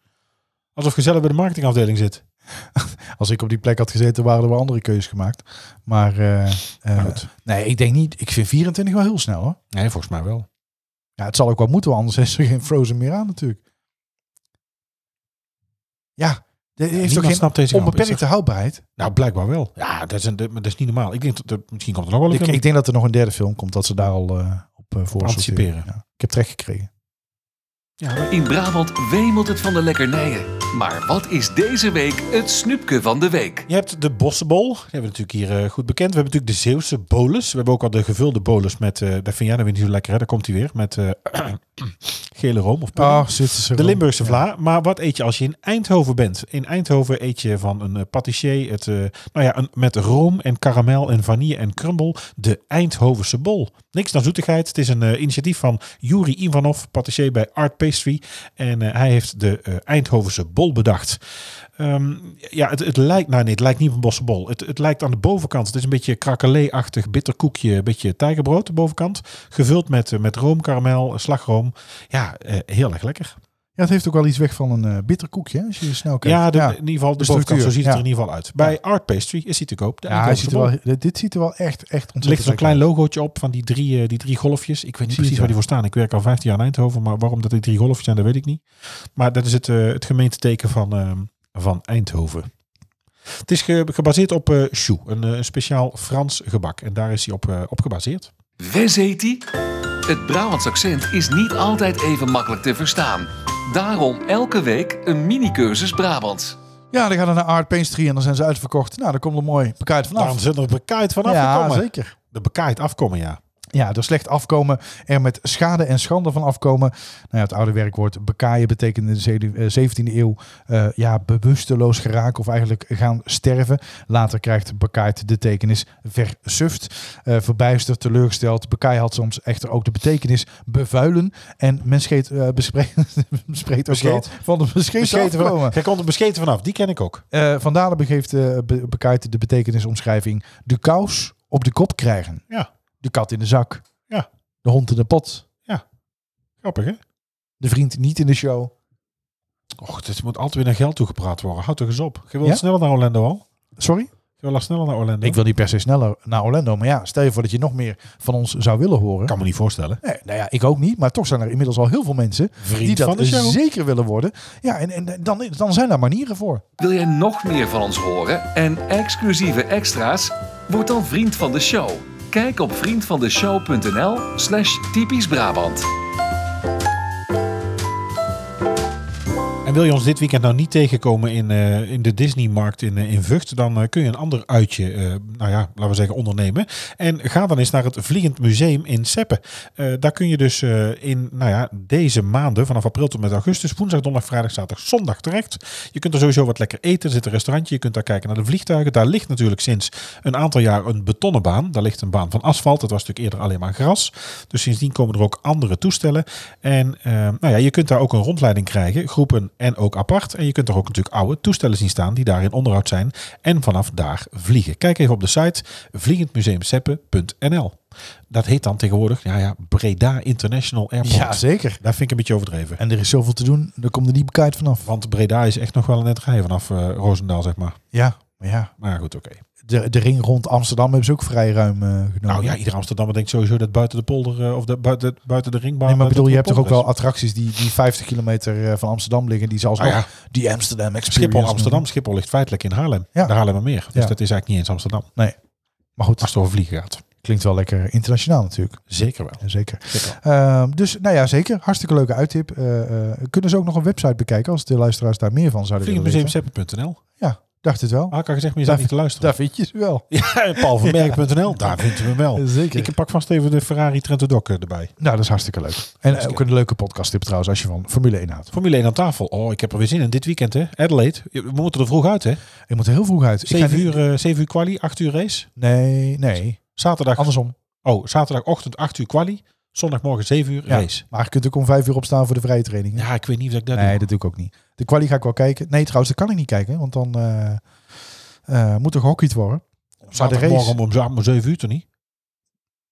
S2: Alsof je zelf bij de marketingafdeling zit.
S3: Als ik op die plek had gezeten, waren er wel andere keuzes gemaakt. Maar eh, eh,
S2: goed.
S3: nee, ik denk niet. Ik vind 24 wel heel snel, hoor.
S2: Nee, volgens mij wel.
S3: Ja, het zal ook wel moeten, want anders is er geen Frozen meer aan natuurlijk. Ja, er heeft
S2: Niemand
S3: toch geen
S2: snapt deze grap, is
S3: onbeperkte houdbaarheid?
S2: er- Nou, blijkbaar wel. Ja, dat is, een, dat maar dat is niet normaal. Ik denk dat er, misschien komt er nog wel een
S3: Ik,
S2: film.
S3: ik denk dat er nog een derde film komt, dat ze daar al eh, op eh voor
S2: Anticiperen.
S3: sorteren. Ja. Ik heb terecht gekregen.
S1: In Brabant wemelt het van de lekkernijen. Maar wat is deze week het snoepje van de week?
S2: Je hebt de bossenbol. Die hebben we natuurlijk hier eh, goed bekend. We hebben natuurlijk de Zeeuwse bolus. We hebben ook al de gevulde bolus met... eh dat vind jij nou weer niet zo lekker, hè? Daar komt hij weer. Met eh, gele room of pudding. De Limburgse vla. Maar wat eet je als je in Eindhoven bent? In Eindhoven eet je van een eh, patissier het, eh, nou ja, een, met room en karamel en vanille en krumbel de Eindhovense bol. Niks dan zoetigheid. Het is een eh, initiatief van Juri Ivanov, patissier bij Art Pastry. En eh, hij heeft de eh, Eindhovense bol bedacht. Ehm, ja, het, het lijkt, nou nee, het lijkt niet op een bossenbol. Het, het lijkt aan de bovenkant. Het is een beetje krakelé-achtig, bitter koekje, een beetje tijgerbrood de bovenkant. Gevuld met, eh, met room, karamel, slagroom. Ja, eh, heel erg lekker.
S3: Ja, het heeft ook wel iets weg van een eh, bitter koekje, hè, als je er snel kijkt.
S2: Ja, de- in ieder geval de,
S3: De
S2: bovenkant. Zo
S3: structuur,
S2: ziet het
S3: ja.
S2: er in ieder geval uit. Bij Art Pastry is hij te koop. De
S3: Ja, hij ziet er
S2: Eindhovense
S3: wel, dit- dit ziet er wel echt, echt
S2: bol. Er ligt
S3: ontzettend
S2: zo'n
S3: lekker
S2: klein logootje op van die drie, eh, die drie golfjes. Ik weet niet
S3: Zie
S2: precies
S3: je
S2: waar die voor staan. Ik werk al 15 jaar in Eindhoven, maar waarom dat die drie golfjes zijn, dat weet ik niet. Maar dat is het, eh, het gemeenteteken van, ehm, van Eindhoven. Het is ge- gebaseerd op eh choux, een, eh, een speciaal Frans gebak. En daar is hij op, eh, op gebaseerd.
S1: Wes heet die? Het Brabants accent is niet altijd even makkelijk te verstaan. Daarom elke week een mini-cursus Brabants.
S3: Ja, dan gaan we naar Art Pastry en dan zijn ze uitverkocht. Nou, dan komt er mooi pakket
S2: Daarom
S3: vanaf.
S2: zijn er bekaaid vanaf
S3: Nou, Ja,
S2: gekomen.
S3: zeker.
S2: De bekaaid afkomen, ja.
S3: Ja, er slecht afkomen, er met schade en schande van afkomen. Nou ja, het oude werkwoord bekaaien betekent in de zedu- eh, 17e eeuw eh, ja, bewusteloos geraken of eigenlijk gaan sterven. Later krijgt bekaaid de tekenis versuft, eh, verbijsterd, teleurgesteld. Bekaai had soms echter ook de betekenis bevuilen. En men scheet, eh, bespreekt, bespreekt ook wel
S2: Bescheet?
S3: van de bescheten
S2: Bescheten
S3: afkomen.
S2: vanaf. Jij komt er bescheten vanaf. Die ken ik ook.
S3: Eh, Van Dalen begeeft eh, be- bekijkt de betekenisomschrijving de kous op de kop krijgen.
S2: Ja.
S3: De kat in de zak.
S2: Ja.
S3: De hond in de pot.
S2: Grappig, hè?
S3: De vriend niet in de show.
S2: Och, dit moet altijd weer naar geld toegepraat worden. Houd toch eens op. Je wil
S3: Ja?
S2: sneller naar Orlando al.
S3: Sorry?
S2: Je wil al sneller naar Orlando.
S3: Ik wil niet per se sneller naar Orlando. Maar ja, stel je voor dat je nog meer van ons zou willen horen.
S2: kan me niet voorstellen.
S3: Nee, nou ja, ik ook niet. Maar toch zijn er inmiddels al heel veel mensen die
S2: Vriend
S3: dat
S2: van de show.
S3: zeker willen worden. Ja, en, en dan, dan zijn daar manieren voor.
S1: Wil jij nog meer van ons horen en exclusieve extra's? Word dan vriend van de show. Kijk op vriendvandeshow.nl slash typisch Brabant.
S2: En wil je ons dit weekend nou niet tegenkomen in, eh, in de Disneymarkt in, eh, in Vught, dan eh, kun je een ander uitje, eh, nou ja, laten we zeggen, ondernemen. En ga dan eens naar het Vliegend Museum in Seppen. Eh, daar kun je dus eh, in, nou ja, deze maanden, vanaf april tot en met augustus, woensdag, donderdag, vrijdag, zaterdag, zondag terecht. Je kunt er sowieso wat lekker eten. Er zit een restaurantje, je kunt daar kijken naar de vliegtuigen. Daar ligt natuurlijk sinds een aantal jaar een betonnen baan. Daar ligt een baan van asfalt. Dat was natuurlijk eerder alleen maar gras. Dus sindsdien komen er ook andere toestellen. En eh, nou ja, je kunt daar ook een rondleiding krijgen, groepen en ook apart. En je kunt er ook natuurlijk oude toestellen zien staan die daar in onderhoud zijn en vanaf daar vliegen. Kijk even op de site vliegendmuseumseppen.nl. Dat heet dan tegenwoordig ja, ja, Breda International Airport.
S3: zeker.
S2: Daar vind ik een beetje overdreven.
S3: En er is zoveel te doen, daar komt er niet bekijkt vanaf.
S2: Want Breda is echt nog wel een net rij vanaf eh, Roosendaal, zeg maar.
S3: Ja, maar ja.
S2: Maar goed, oké.
S3: De, de ring rond Amsterdam hebben ze ook vrij ruim eh, genomen.
S2: Nou ja, ieder Amsterdammer denkt sowieso dat buiten de polder eh, of dat buiten, buiten de ringbaan...
S3: Nee, maar
S2: eh,
S3: ik
S2: dat
S3: bedoel, je
S2: er
S3: hebt toch ook
S2: polder
S3: wel
S2: is.
S3: attracties die, die 50 kilometer eh, van Amsterdam liggen, die zelfs
S2: Ah,
S3: nog
S2: ja.
S3: die Amsterdam Experience
S2: Schiphol
S3: noemen.
S2: Amsterdam. Schiphol ligt feitelijk in Haarlem.
S3: Ja.
S2: De Haarlemmermeer. Dus
S3: Ja.
S2: dat is eigenlijk niet eens Amsterdam.
S3: Maar goed,
S2: Als het over vliegen gaat.
S3: klinkt wel lekker internationaal natuurlijk.
S2: Zeker wel.
S3: Ja, Zeker. Ehm, dus nou ja, zeker. Hartstikke leuke uittip. Eh, eh, kunnen ze ook nog een website bekijken als de luisteraars daar meer van zouden willen weten?
S2: Vliegendmuseumseppen.nl
S3: Ja. Dacht het wel.
S2: Haka gezegd, maar je zat
S3: Daar-
S2: niet te luisteren.
S3: Daar vind je ze wel.
S2: Ah. Ja, Paul van Merk.nl, daar vindt u hem wel.
S3: Zeker.
S2: Ik pak vast even de Ferrari Trento Doc eh, erbij.
S3: Nou, dat is hartstikke leuk. En eh, ook een leuke podcast tip trouwens, als je van Formule 1 houdt.
S2: Formule 1 aan tafel. Oh, ik heb er weer zin in. Dit weekend, hè? Adelaide. We moeten er vroeg uit, hè?
S3: Ik moet er heel vroeg uit. Ik ga
S2: 7
S3: niet-
S2: uur, eh 7 uur quali, 8 uur race.
S3: Nee, nee.
S2: Zaterdag,
S3: Andersom.
S2: oh, zaterdagochtend 8 uur quali. Zondagmorgen 7 uur
S3: Ja.
S2: race.
S3: Maar je kunt ook om vijf uur opstaan voor de vrije training.
S2: Ja, ik weet niet of ik dat
S3: nee,
S2: doe.
S3: dat doe ik ook niet. De quali ga ik wel kijken. Nee, trouwens, dat kan ik niet kijken, want dan eh, eh, moet er gehockeyd worden. Maar de
S2: Zaterdagmorgen
S3: race,
S2: om, om, za- om 7 uur toch niet?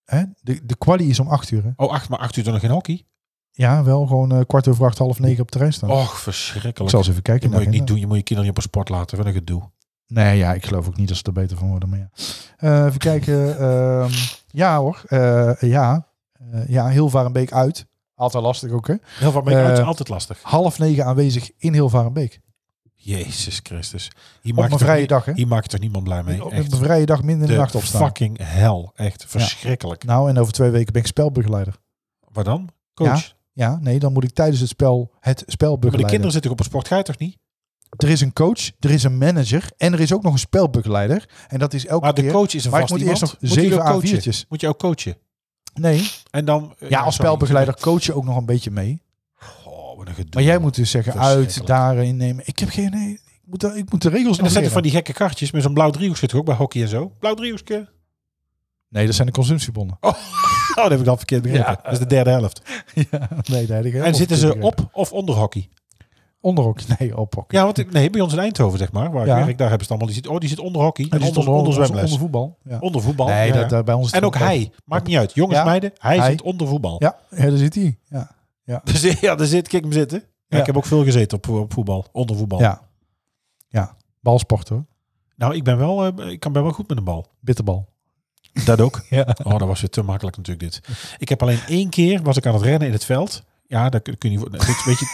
S3: hè? De, de quali is om acht uur. Hè?
S2: Oh, 8, maar 8 uur toch nog geen hockey?
S3: Ja, wel gewoon eh, kwart over acht, half negen op het terrein staan.
S2: Och,
S3: ik
S2: verschrikkelijk.
S3: zal eens even kijken.
S2: Oh, Dat moet je
S3: in de
S2: niet
S3: agenda.
S2: doen. Je moet je kinderen niet op een sport laten. Wat een gedoe.
S3: Nee, ja, ik geloof ook niet dat ze er beter van worden. Maar ja. Eh, even kijken. ehm, ja hoor, Eh, ja. Eh, ja, Hilvarenbeek uit. Altijd lastig ook, hè?
S2: Heel wat mee uit is
S3: Eh,
S2: altijd lastig.
S3: Half negen aanwezig in Hilvarenbeek.
S2: Jezus Christus. Hier
S3: Op
S2: maakt
S3: een
S2: toch
S3: vrije
S2: nie-
S3: dag, hè?
S2: Hier maakt toch niemand blij mee?
S3: Op
S2: Echt.
S3: een vrije dag minder in de,
S2: de
S3: nacht opstaan.
S2: fucking hel. Echt verschrikkelijk.
S3: Nou, en over twee weken ben ik spelbegeleider.
S2: Waar dan? Coach.
S3: Ja, nee, dan moet ik tijdens het spel het spel
S2: maar de
S3: begeleiden.
S2: kinderen zitten toch op een sport? Ga je toch niet?
S3: Er is een coach, er is een manager en er is ook nog een spelbegeleider. En dat is elke
S2: Maar de
S3: keer...
S2: coach is een
S3: maar ik
S2: vast
S3: moet
S2: iemand.
S3: eerst nog
S2: Moet je die
S3: zeven
S2: ook coachen?
S3: A4'tjes.
S2: Moet je ook coachen?
S3: Nee,
S2: En dan... eh,
S3: ja, als
S2: sorry.
S3: spelbegeleider coach je ook nog een beetje mee.
S2: Oh, wat een gedoe.
S3: Maar jij moet dus zeggen, uit,
S2: Verschrikkelijk.
S3: daar innemen. Ik heb geen... Nee, ik moet, daar- ik moet de regels
S2: En dan
S3: nog
S2: zetten van
S3: leren.
S2: die gekke kartjes met zo'n blauw driehoek zit toch ook bij hockey en zo. Blauw driehoekje.
S3: Nee, dat zijn de consumptiebonnen.
S2: Oh, dat heb ik dan verkeerd begrepen.
S3: Ja.
S2: dat is de derde helft.
S3: ja, nee, nee.
S2: En zitten ze op of onder hockey?
S3: Onderhok. Nee, op hockey.
S2: Ja, want ik- nee, bij ons in Eindhoven zeg maar, waar
S3: Ja.
S2: ik werk, daar hebben ze het allemaal. Die zit, oh, die zit onder hockey. En,
S3: die
S2: onder,
S3: stonden
S2: onder zwemles.
S3: onder
S2: Onder,
S3: voetbal. Ja.
S2: voetbal.
S3: Nee,
S2: ja,
S3: dat,
S2: ja.
S3: daar bij ons is het
S2: En ook hij. Maakt niet uit. Jongens,
S3: Ja.
S2: meiden. Hij,
S3: Hij.
S2: zit onder voetbal.
S3: Ja, ja, daar zit hij. Ja.
S2: Dus ja, daar zit, kijk hem zitten. Ja,
S3: Ja.
S2: Ik heb ook veel gezeten op, op voetbal, onder voetbal.
S3: Ja. ja. Balsport hoor.
S2: Nou, ik ben wel, eh, ik kan ben wel goed met een bal.
S3: Bitterbal.
S2: Dat ook.
S3: Ja.
S2: Oh, dat was weer te makkelijk natuurlijk dit. Ik heb alleen één keer, was ik aan het rennen in het veld. Ja, dat kun kun je niet... voor- Dit, weet je,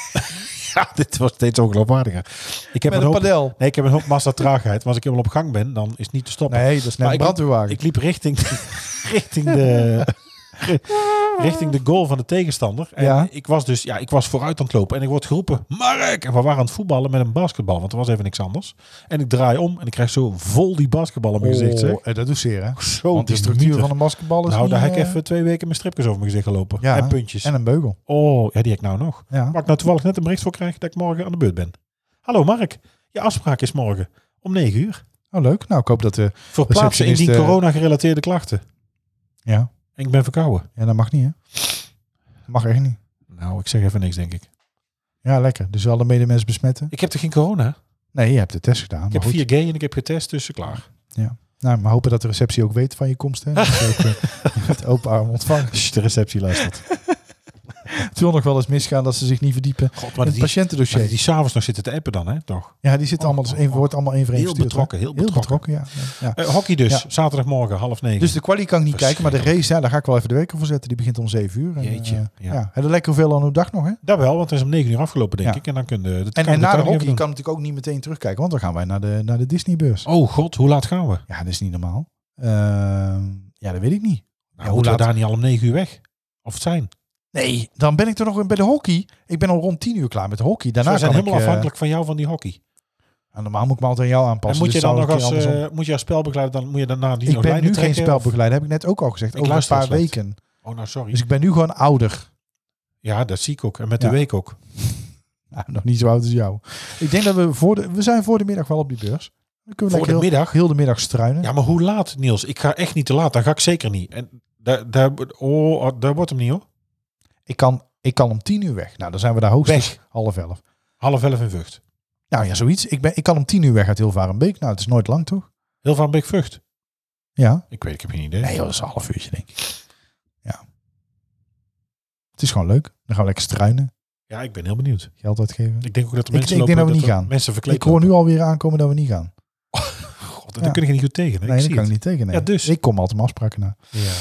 S2: ja, dit was steeds ongeloofwaardiger. Ik heb, een hoop,
S3: padel.
S2: nee, ik heb een hoop massa traagheid. Maar als ik helemaal op gang ben, dan is het niet te stoppen.
S3: Nee, dat is net
S2: Maar
S3: een
S2: ik-
S3: brandweerwagen.
S2: Ik liep richting, richting, de, richting de goal van de tegenstander. En
S3: Ja.
S2: ik was dus ja, ik was vooruit aan het lopen. En ik word geroepen, Mark! En we waren aan het voetballen met een basketbal. Want er was even niks anders. En ik draai om en ik krijg zo vol die basketbal op mijn gezicht. zeg.
S3: oh, eh, dat doet zeer hè.
S2: Zo
S3: Want de
S2: te
S3: structuur
S2: mieter.
S3: van een basketbal is
S2: Nou,
S3: niet,
S2: daar heb ik
S3: eh,
S2: even twee weken mijn stripjes over mijn gezicht gelopen.
S3: Ja.
S2: En puntjes.
S3: En een beugel.
S2: Oh, ja, die heb ik nou nog.
S3: Ja.
S2: Waar ik nou toevallig net een bericht voor krijg dat ik morgen aan de beurt ben. Hallo Mark, je afspraak is morgen om 9 uur. Dus
S3: Oh, leuk. Nou, ik hoop dat de...
S2: Voor plaatsen
S3: Receptionist,
S2: indien
S3: eh,
S2: corona-gerelateerde klachten.
S3: Ja.
S2: En ik ben verkouden.
S3: Ja, dat mag niet hè. Dat mag echt niet.
S2: Nou, ik zeg even niks, denk ik.
S3: Ja, lekker. Dus wel de medemens besmetten.
S2: Ik heb toch geen corona?
S3: Nee, je hebt de test gedaan.
S2: ik
S3: maar
S2: heb
S3: goed.
S2: 4G en ik heb getest, dus klaar.
S3: Nou, maar hopen dat de receptie ook weet van je komst. Hè? Dat je ook, eh, met open arm ontvangen.
S2: Als je de receptie luistert.
S3: Het wil nog wel eens misgaan dat ze zich niet verdiepen
S2: God,
S3: in
S2: maar
S3: het
S2: die,
S3: patiëntendossier.
S2: maar die s'avonds nog zitten te appen dan, hè? Toch?
S3: ja, die zitten allemaal, dus één- wordt allemaal één voor één
S2: Heel
S3: verstuurd, hè?
S2: betrokken, heel betrokken.
S3: ja. ja.
S2: Eh, hockey dus,
S3: Ja.
S2: zaterdagmorgen, half negen.
S3: Dus de quali kan ik niet kijken, maar de race, ja, daar ga ik wel even de week voor zetten. Die begint om 7 uur. En,
S2: Jeetje,
S3: eh,
S2: ja.
S3: ja. En er lekker veel aan uw dag nog, hè?
S2: Daar wel, want het is om 9 uur afgelopen, denk
S3: Ja.
S2: ik. En dan kunnen we... dat
S3: En,
S2: kan
S3: en
S2: ik
S3: na de
S2: daar nog
S3: hockey
S2: even
S3: kan natuurlijk ook niet meteen terugkijken, want dan gaan wij naar de, naar de Disneybeurs.
S2: doen. Oh god, hoe laat gaan we?
S3: Ja, dat is niet normaal. Ehm, ja, dat weet ik niet.
S2: Nou,
S3: hoe
S2: moeten
S3: laat?
S2: we daar niet al om 9 uur weg? Of het zijn?
S3: Nee, dan ben ik er nog in bij de hockey. Ik ben al rond 10 uur klaar met de hockey.
S2: Dus
S3: Daarna
S2: we zijn
S3: kan
S2: helemaal
S3: ik, eh,
S2: afhankelijk van jou, van die hockey.
S3: nou, normaal moet ik me altijd aan jou aanpassen.
S2: en moet je
S3: dus
S2: dan
S3: zou
S2: nog
S3: ik een
S2: als,
S3: keer andersom.
S2: eh, moet je als spelbegeleider, dan moet je daarna die
S3: ik
S2: nog
S3: ben
S2: lijnen
S3: nu geen
S2: trekken, of-
S3: spelbegeleider, heb ik net ook al gezegd.
S2: Ik
S3: Over een
S2: luister
S3: paar
S2: slecht.
S3: weken.
S2: Oh, nou sorry.
S3: Dus ik ben nu gewoon ouder.
S2: Ja, dat zie ik ook. En met
S3: Ja.
S2: de week ook.
S3: Nou, nog niet zo oud als jou. Ik denk dat we voor de... We zijn voor de middag wel op die beurs. Dan kunnen we
S2: Voor
S3: lekker
S2: de
S3: heel,
S2: middag?
S3: heel de middag struinen.
S2: Ja, maar hoe laat, Niels? Ik ga echt niet te laat. Dan ga ik zeker niet. En daar, daar, oh, oh, daar wordt hem niet, hoor.
S3: Ik, kan, ik kan om 10 uur weg. Nou, dan zijn we daar hoogstens half elf.
S2: Half elf in Vught.
S3: Nou ja, zoiets. Ik, ben, ik kan om 10 uur weg uit Hilvarenbeek. Nou, het is nooit lang, toch?
S2: Heel van Beek Vught.
S3: Ja.
S2: Ik weet, ik heb geen idee.
S3: Nee, joh, dat is een half uurtje, denk ik. Ja. Het is gewoon leuk. Dan gaan we lekker struinen.
S2: Ja, ik ben heel benieuwd.
S3: Geld uitgeven.
S2: Ik denk ook dat de
S3: Ik-
S2: mensen
S3: ik denk
S2: lopen,
S3: dat we niet
S2: er
S3: gaan.
S2: Mensen verkleed
S3: Ik hoor nu alweer aankomen dat we niet gaan.
S2: lopen. God,
S3: Ja.
S2: daar kun je niet goed tegen. Hè?
S3: Nee,
S2: ik
S3: dat
S2: zie
S3: kan
S2: het.
S3: ik niet tegen. nee.
S2: Ja, dus.
S3: Ik kom altijd mijn afspraken na.
S2: Ja.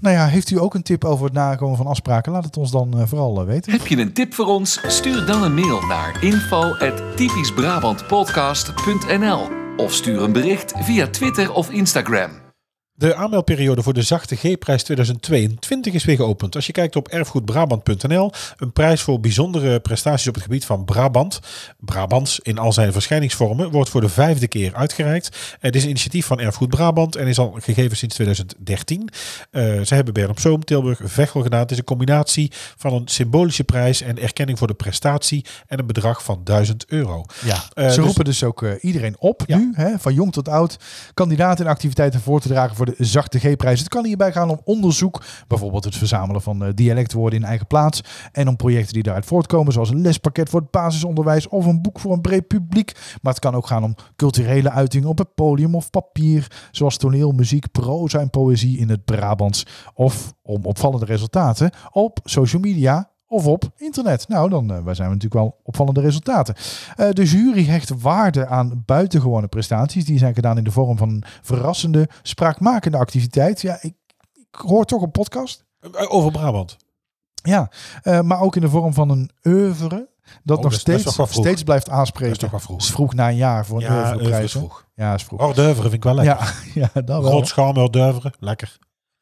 S3: Nou ja, heeft u ook een tip over het nakomen van afspraken? Laat het ons dan eh, vooral eh, weten.
S1: Heb je een tip voor ons? Stuur dan een mail naar info@typischbrabantpodcast.nl of stuur een bericht via Twitter of Instagram.
S2: De aanmeldperiode voor de Zachte G-prijs 2022 is weer geopend. Als je kijkt op erfgoedbrabant.nl, een prijs voor bijzondere prestaties op het gebied van Brabant. Brabants in al zijn verschijningsvormen wordt voor de vijfde keer uitgereikt. Het is een initiatief van Erfgoed Brabant en is al gegeven sinds 2013. Eh, ze hebben Bern op Zoom, Tilburg, Vechel gedaan. Het is een combinatie van een symbolische prijs en erkenning voor de prestatie en een bedrag van 1000 euro.
S3: Ja,
S2: Eh,
S3: ze
S2: dus-
S3: roepen dus ook eh, iedereen op
S2: Ja.
S3: nu, hè, van jong tot oud, kandidaten en activiteiten voor te dragen voor de zachte G-prijs. Het kan hierbij gaan om onderzoek, bijvoorbeeld het verzamelen van eh, dialectwoorden in eigen plaats en om projecten die daaruit voortkomen, zoals een lespakket voor het basisonderwijs of een boek voor een breed publiek. Maar het kan ook gaan om culturele uitingen op het podium of papier, zoals toneel, muziek, proza en poëzie in het Brabants of om opvallende resultaten op social media of op internet. Nou, dan eh, wij zijn we natuurlijk wel opvallende resultaten. Eh, de jury hecht waarde aan buitengewone prestaties. Die zijn gedaan in de vorm van een verrassende, spraakmakende activiteit. Ja, ik, ik hoor toch een podcast.
S2: Eh, Over Brabant.
S3: Ja, eh, maar ook in de vorm van een oeuvre. Dat
S2: Oh, dat
S3: nog
S2: is- dat is
S3: steeds,
S2: toch wel vroeg.
S3: steeds blijft
S2: Dat is
S3: aanspreken.
S2: toch wel vroeg.
S3: is vroeg na een jaar voor een
S2: Ja,
S3: oeuvreprijs,
S2: oeuvre is
S3: hè?
S2: vroeg.
S3: Ja, is vroeg.
S2: Hors d'oeuvre vind ik wel lekker.
S3: Ja, ja, dat wel.
S2: Rotschaam, hors d'oeuvre, lekker.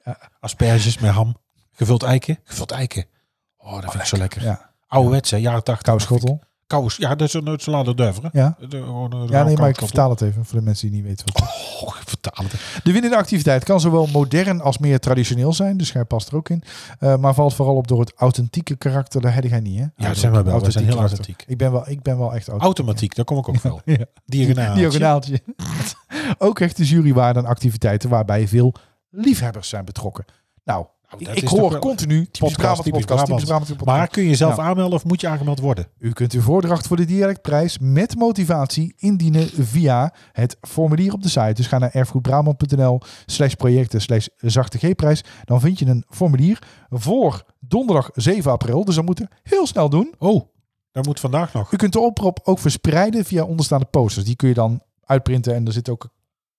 S3: Ja.
S2: Asperges met ham. Gevuld eiken, gevuld eiken. Oh, dat vind ik zo lekker.
S3: Ja,
S2: Ouderwets, hè, jaren 80.
S3: koude schottel.
S2: Kous, ja, dat is een een salade d'oeuvre.
S3: Ja.
S2: De- gewoon, eh,
S3: Ja,
S2: rauw
S3: nee, maar ik
S2: koude
S3: vertaal het even voor de mensen die niet weten wat het is.
S2: schottel. Oh, vertalen.
S3: De winnende activiteit kan zowel modern als meer traditioneel zijn, dus hij past er ook in. Eh, maar valt vooral op door het authentieke karakter. Daar heb jij niet, hè?
S2: Ja, dat zijn wij wel. We zijn heel
S3: karakter.
S2: authentiek.
S3: Ik ben wel, ik ben wel echt authentiek.
S2: Automatiek, daar kom ik ook wel.
S3: Ja.
S2: Diagonaal.
S3: Diagonaaltje. ook hecht de jury waarde aan activiteiten waarbij veel liefhebbers zijn betrokken. Nou,
S2: Nou,
S3: ik,
S2: dat
S3: ik
S2: is toch
S3: hoor
S2: wel-
S3: continu podcast, podcast,
S2: typisch
S3: podcast,
S2: Brabant.
S3: typisch Brabant, podcast.
S2: Maar kun je jezelf
S3: Ja.
S2: aanmelden of moet je aangemeld worden?
S3: U kunt uw voordracht voor de dialectprijs met motivatie indienen via het formulier op de site. Dus ga naar erfgoedbrabant.nl slash projecten slash zachte G-prijs. Dan vind je een formulier voor donderdag 7 april. Dus dat moet je heel snel doen.
S2: Oh, dat moet vandaag nog.
S3: U kunt de oproep ook verspreiden via onderstaande posters. Die kun je dan uitprinten en er zit ook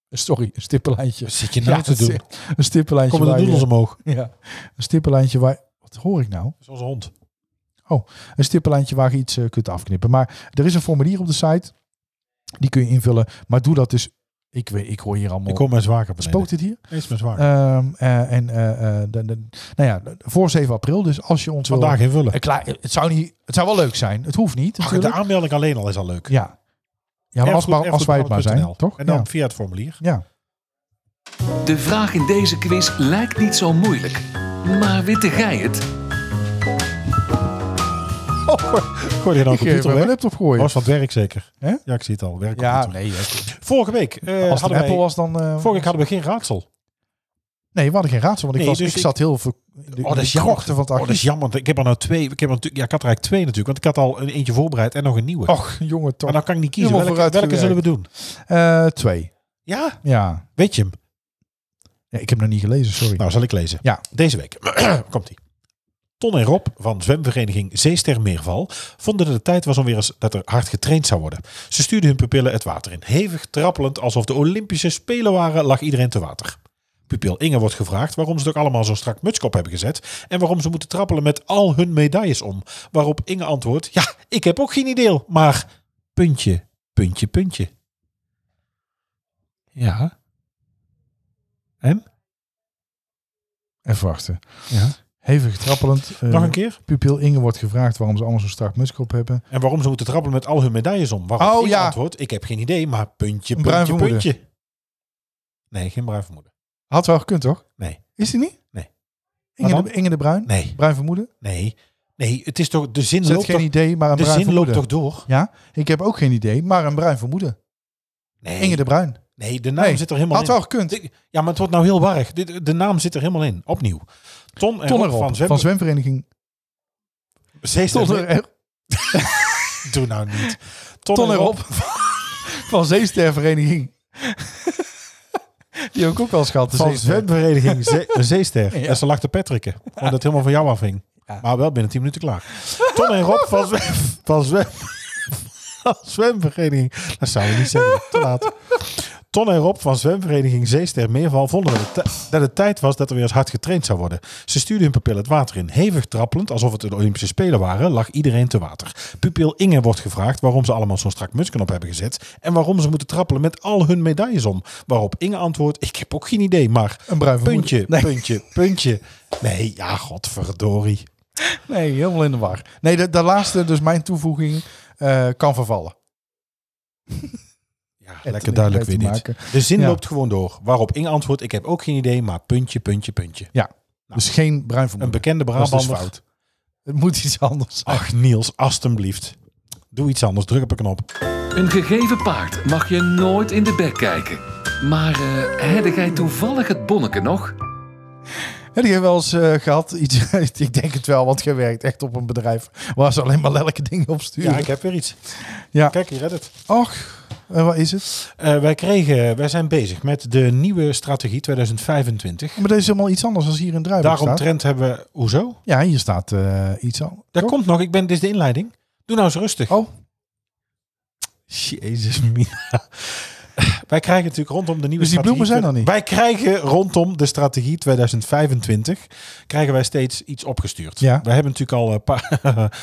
S3: een, sorry, een stippenlijntje.
S2: Wat zit je nou te
S3: het is-
S2: doen?
S3: Een stippenlijntje.
S2: Komen de
S3: waar
S2: doedels
S3: je-
S2: omhoog?
S3: ja, een stippenlijntje waar... Wat hoor ik nou?
S2: Dat is onze hond.
S3: een stippenlijntje waar je iets eh, kunt afknippen. Maar er is een formulier op de site. Die kun je invullen. Maar doe dat dus. Ik, weet, ik hoor hier allemaal.
S2: Ik Oh. kom mijn zwager beneden.
S3: Spookt dit hier?
S2: Eens mijn zwager.
S3: Ehm, eh, en eh, eh, dan- dan- nou ja, voor 7 april. Dus als je ons
S2: Vandaag
S3: wil.
S2: invullen.
S3: Eh, klaar, het, zou niet, het zou wel leuk zijn. Het hoeft niet.
S2: Ach, de
S3: natuurlijk.
S2: aanmelding alleen al is al leuk.
S3: ja. ja, maar als,
S2: Erfgoed-
S3: maar, als wij het maar zijn,
S2: erfgoedbrabant.nl.
S3: toch?
S2: En dan
S3: ja.
S2: via het formulier.
S3: ja.
S1: De vraag in deze quiz lijkt niet zo moeilijk. Maar witte gij het?
S2: Gooi je dan
S3: Ik eh,
S2: computer
S3: wil mijn
S2: weg?
S3: laptop gooien.
S2: Was van het werk zeker.
S3: Hè?
S2: Ja, ik zie het al. Werk
S3: ja,
S2: ja,
S3: nee. ja.
S2: Vorige week eh
S3: Als het een
S2: hadden
S3: Apple
S2: wij...
S3: was, dan. eh,
S2: Vorige week hadden we geen raadsel. Oh,
S3: nee, we hadden geen raadsel. Want ik,
S2: Nee,
S3: was,
S2: dus
S3: ik,
S2: ik-
S3: zat heel veel. De,
S2: Oh, dat is
S3: de
S2: jammer.
S3: krochten van het
S2: Oh, dat is
S3: archief.
S2: jammer. want Ik heb er nou twee. Ik, heb er natuurlijk, ja, ik had er eigenlijk twee natuurlijk. Want ik had al een eentje voorbereid en nog een nieuwe.
S3: Och, jongen,
S2: maar
S3: toch.
S2: dan kan ik niet kiezen.
S3: Oh, Helemaal
S2: Welke, welke zullen
S3: vooruitgewerkt.
S2: we doen?
S3: Eh, twee.
S2: Ja?
S3: Ja.
S2: Weet je hem?
S3: Ja, ik heb nog niet gelezen, sorry.
S2: Nou, zal ik lezen.
S3: Ja.
S2: Deze week. Komt-ie. Ton en Rob van zwemvereniging Zeestermeerval vonden dat het tijd was om weer eens dat er hard getraind zou worden. Ze stuurden hun pupillen het water in. Hevig trappelend, alsof de Olympische Spelen waren, lag iedereen te water. Pupil Inge wordt gevraagd waarom ze het ook allemaal zo strak mutskop hebben gezet en waarom ze moeten trappelen met al hun medailles om. Waarop Inge antwoordt, ja, ik heb ook geen idee, maar puntje, puntje, puntje. Ja. En?
S3: Even wachten.
S2: Ja.
S3: Hevig trappelend. eh,
S2: Nog een keer?
S3: Pupil Inge wordt gevraagd waarom ze allemaal zo'n strak muskop hebben.
S2: En waarom ze moeten trappelen met al hun medailles om. Waarom
S3: Oh,
S2: ik
S3: ja.
S2: antwoord, ik heb geen idee, maar puntje,
S3: Een bruin
S2: puntje,
S3: vermoeden.
S2: puntje. Nee, geen bruin vermoeden.
S3: Had wel gekund, toch?
S2: Nee.
S3: Is die niet?
S2: Nee.
S3: Inge
S2: Maar
S3: de, Inge de Bruin?
S2: Nee,
S3: Bruin vermoeden?
S2: nee, nee. Het is toch, de zin
S3: Zet
S2: loopt
S3: geen
S2: toch,
S3: idee, maar een
S2: de
S3: bruin
S2: zin loopt
S3: vermoeden.
S2: toch door?
S3: Ja, ik heb ook geen idee, maar een bruin vermoeden.
S2: Nee,
S3: Inge de Bruin.
S2: nee de naam
S3: Nee,
S2: zit er helemaal
S3: Had
S2: in.
S3: wel gekund.
S2: Dit- Ja, maar het wordt nou heel warrig. Dit- De naam zit er helemaal in. Opnieuw. Ton en
S3: Ton
S2: Rob
S3: erop.
S2: van Zwem.
S3: Van zwemvereniging.
S2: Zeester-
S3: Ton er-
S2: Doe nou niet.
S3: Ton
S2: en Rob
S3: erop. Van zeestervereniging. Die heb ik ook wel eens gehad. de
S2: Van
S3: zeester.
S2: zwemvereniging Ze- Zeester.
S3: Ja.
S2: En ze lag te petrikken. Omdat het helemaal van jou afhing.
S3: Ja.
S2: Maar wel binnen 10 minuten klaar. Ton en Rob van, zwem, van, zwem, van zwemvereniging. Dat zou je niet zeggen. Te laat. Ton en Rob van zwemvereniging Zeester Meerval vonden dat het, ti- dat het tijd was dat er weer eens hard getraind zou worden. Ze stuurden hun pupil het water in. Hevig trappelend, alsof het de Olympische Spelen waren, lag iedereen te water. Pupil Inge wordt gevraagd waarom ze allemaal zo'n strak mutsken op hebben gezet en waarom ze moeten trappelen met al hun medailles om. Waarop Inge antwoordt, ik heb ook geen idee, maar...
S3: Een bruin vermoeden.
S2: Puntje,
S3: Nee.
S2: puntje, puntje. Nee, ja, godverdorie.
S3: Nee, helemaal in de war. Nee, de, de laatste, dus mijn toevoeging, eh, kan vervallen.
S2: Ja,
S3: Het
S2: lekker
S3: niet
S2: duidelijk
S3: mee
S2: weer
S3: te
S2: niet.
S3: maken.
S2: De zin
S3: Ja.
S2: loopt gewoon door. Waarop Inge antwoordt, ik heb ook geen idee, maar puntje, puntje, puntje.
S3: Dus geen bruin
S2: Nou. Een
S3: vermoeden.
S2: bekende
S3: Dat is dus
S2: Brabander.
S3: fout. Het moet iets anders zijn.
S2: Ach Niels, alstublieft. Doe iets anders, druk op een knop.
S1: Een gegeven paard mag je nooit in de bek kijken. Maar eh heb jij toevallig het bonneke nog?
S2: Ah.
S3: Heb je wel eens eh, gehad? Iets, ik denk het wel, want jij werkt echt op een bedrijf waar ze alleen maar lelijke dingen op sturen.
S2: Ja, ik heb weer iets.
S3: Ja.
S2: Kijk, je redt het.
S3: Och, en wat is het?
S2: Eh, wij, kregen, wij zijn bezig met de nieuwe strategie 2025.
S3: Maar deze is helemaal iets anders dan hier in Druiven
S2: Daarom
S3: staat.
S2: trend hebben we... Hoezo?
S3: Ja, hier staat eh, iets aan.
S2: Daar komt nog, ik ben, dit is de inleiding. Doe nou eens rustig.
S3: Oh.
S2: Jezus mina. Wij krijgen natuurlijk rondom de nieuwe
S3: Dus die bloemen
S2: strategie-
S3: zijn er niet?
S2: Wij krijgen rondom de strategie 2025 krijgen wij steeds iets opgestuurd.
S3: Ja.
S2: Wij hebben natuurlijk al een paar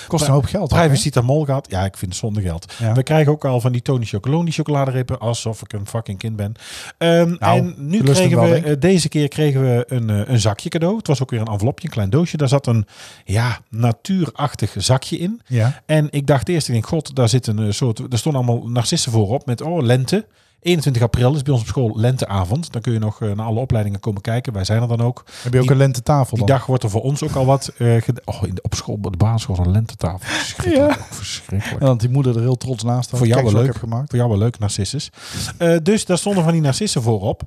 S3: Kost een hoop geld. ook, hè?
S2: privacytamol gehad. Ja, ik vind het zonde geld.
S3: Ja.
S2: We krijgen ook al van die Tony Chocolonely chocoladerepen. Alsof ik een fucking kind ben. Ehm,
S3: Nou,
S2: en nu
S3: je lust
S2: kregen
S3: hem wel,
S2: we,
S3: denk ik.
S2: eh, deze keer kregen we een, eh, een zakje cadeau. Het was ook weer een envelopje, een klein doosje. Daar zat een ja, natuurachtig zakje in.
S3: Ja.
S2: En ik dacht eerst, ik denk, god, daar zit een eh, soort... Er stonden allemaal narcissen voorop met, oh, lente. 21 april is bij ons op school lenteavond. Dan kun je nog eh, naar alle opleidingen komen kijken. Wij zijn er dan ook.
S3: Heb je ook
S2: Die-
S3: een lentetafel
S2: Die
S3: dan?
S2: dag wordt er voor ons ook al wat... eh, ged- oh, in de, op school, op de basisschool, een lentetafel. Verschrikkelijk. oh, Verschrikkelijk.
S3: En dat die moeder er heel trots naast staat.
S2: Voor jou
S3: Kijk
S2: wel
S3: eens
S2: leuk.
S3: wat ik heb gemaakt.
S2: Voor jou wel leuk, narcissus. Eh, dus daar stonden van die narcissen voorop.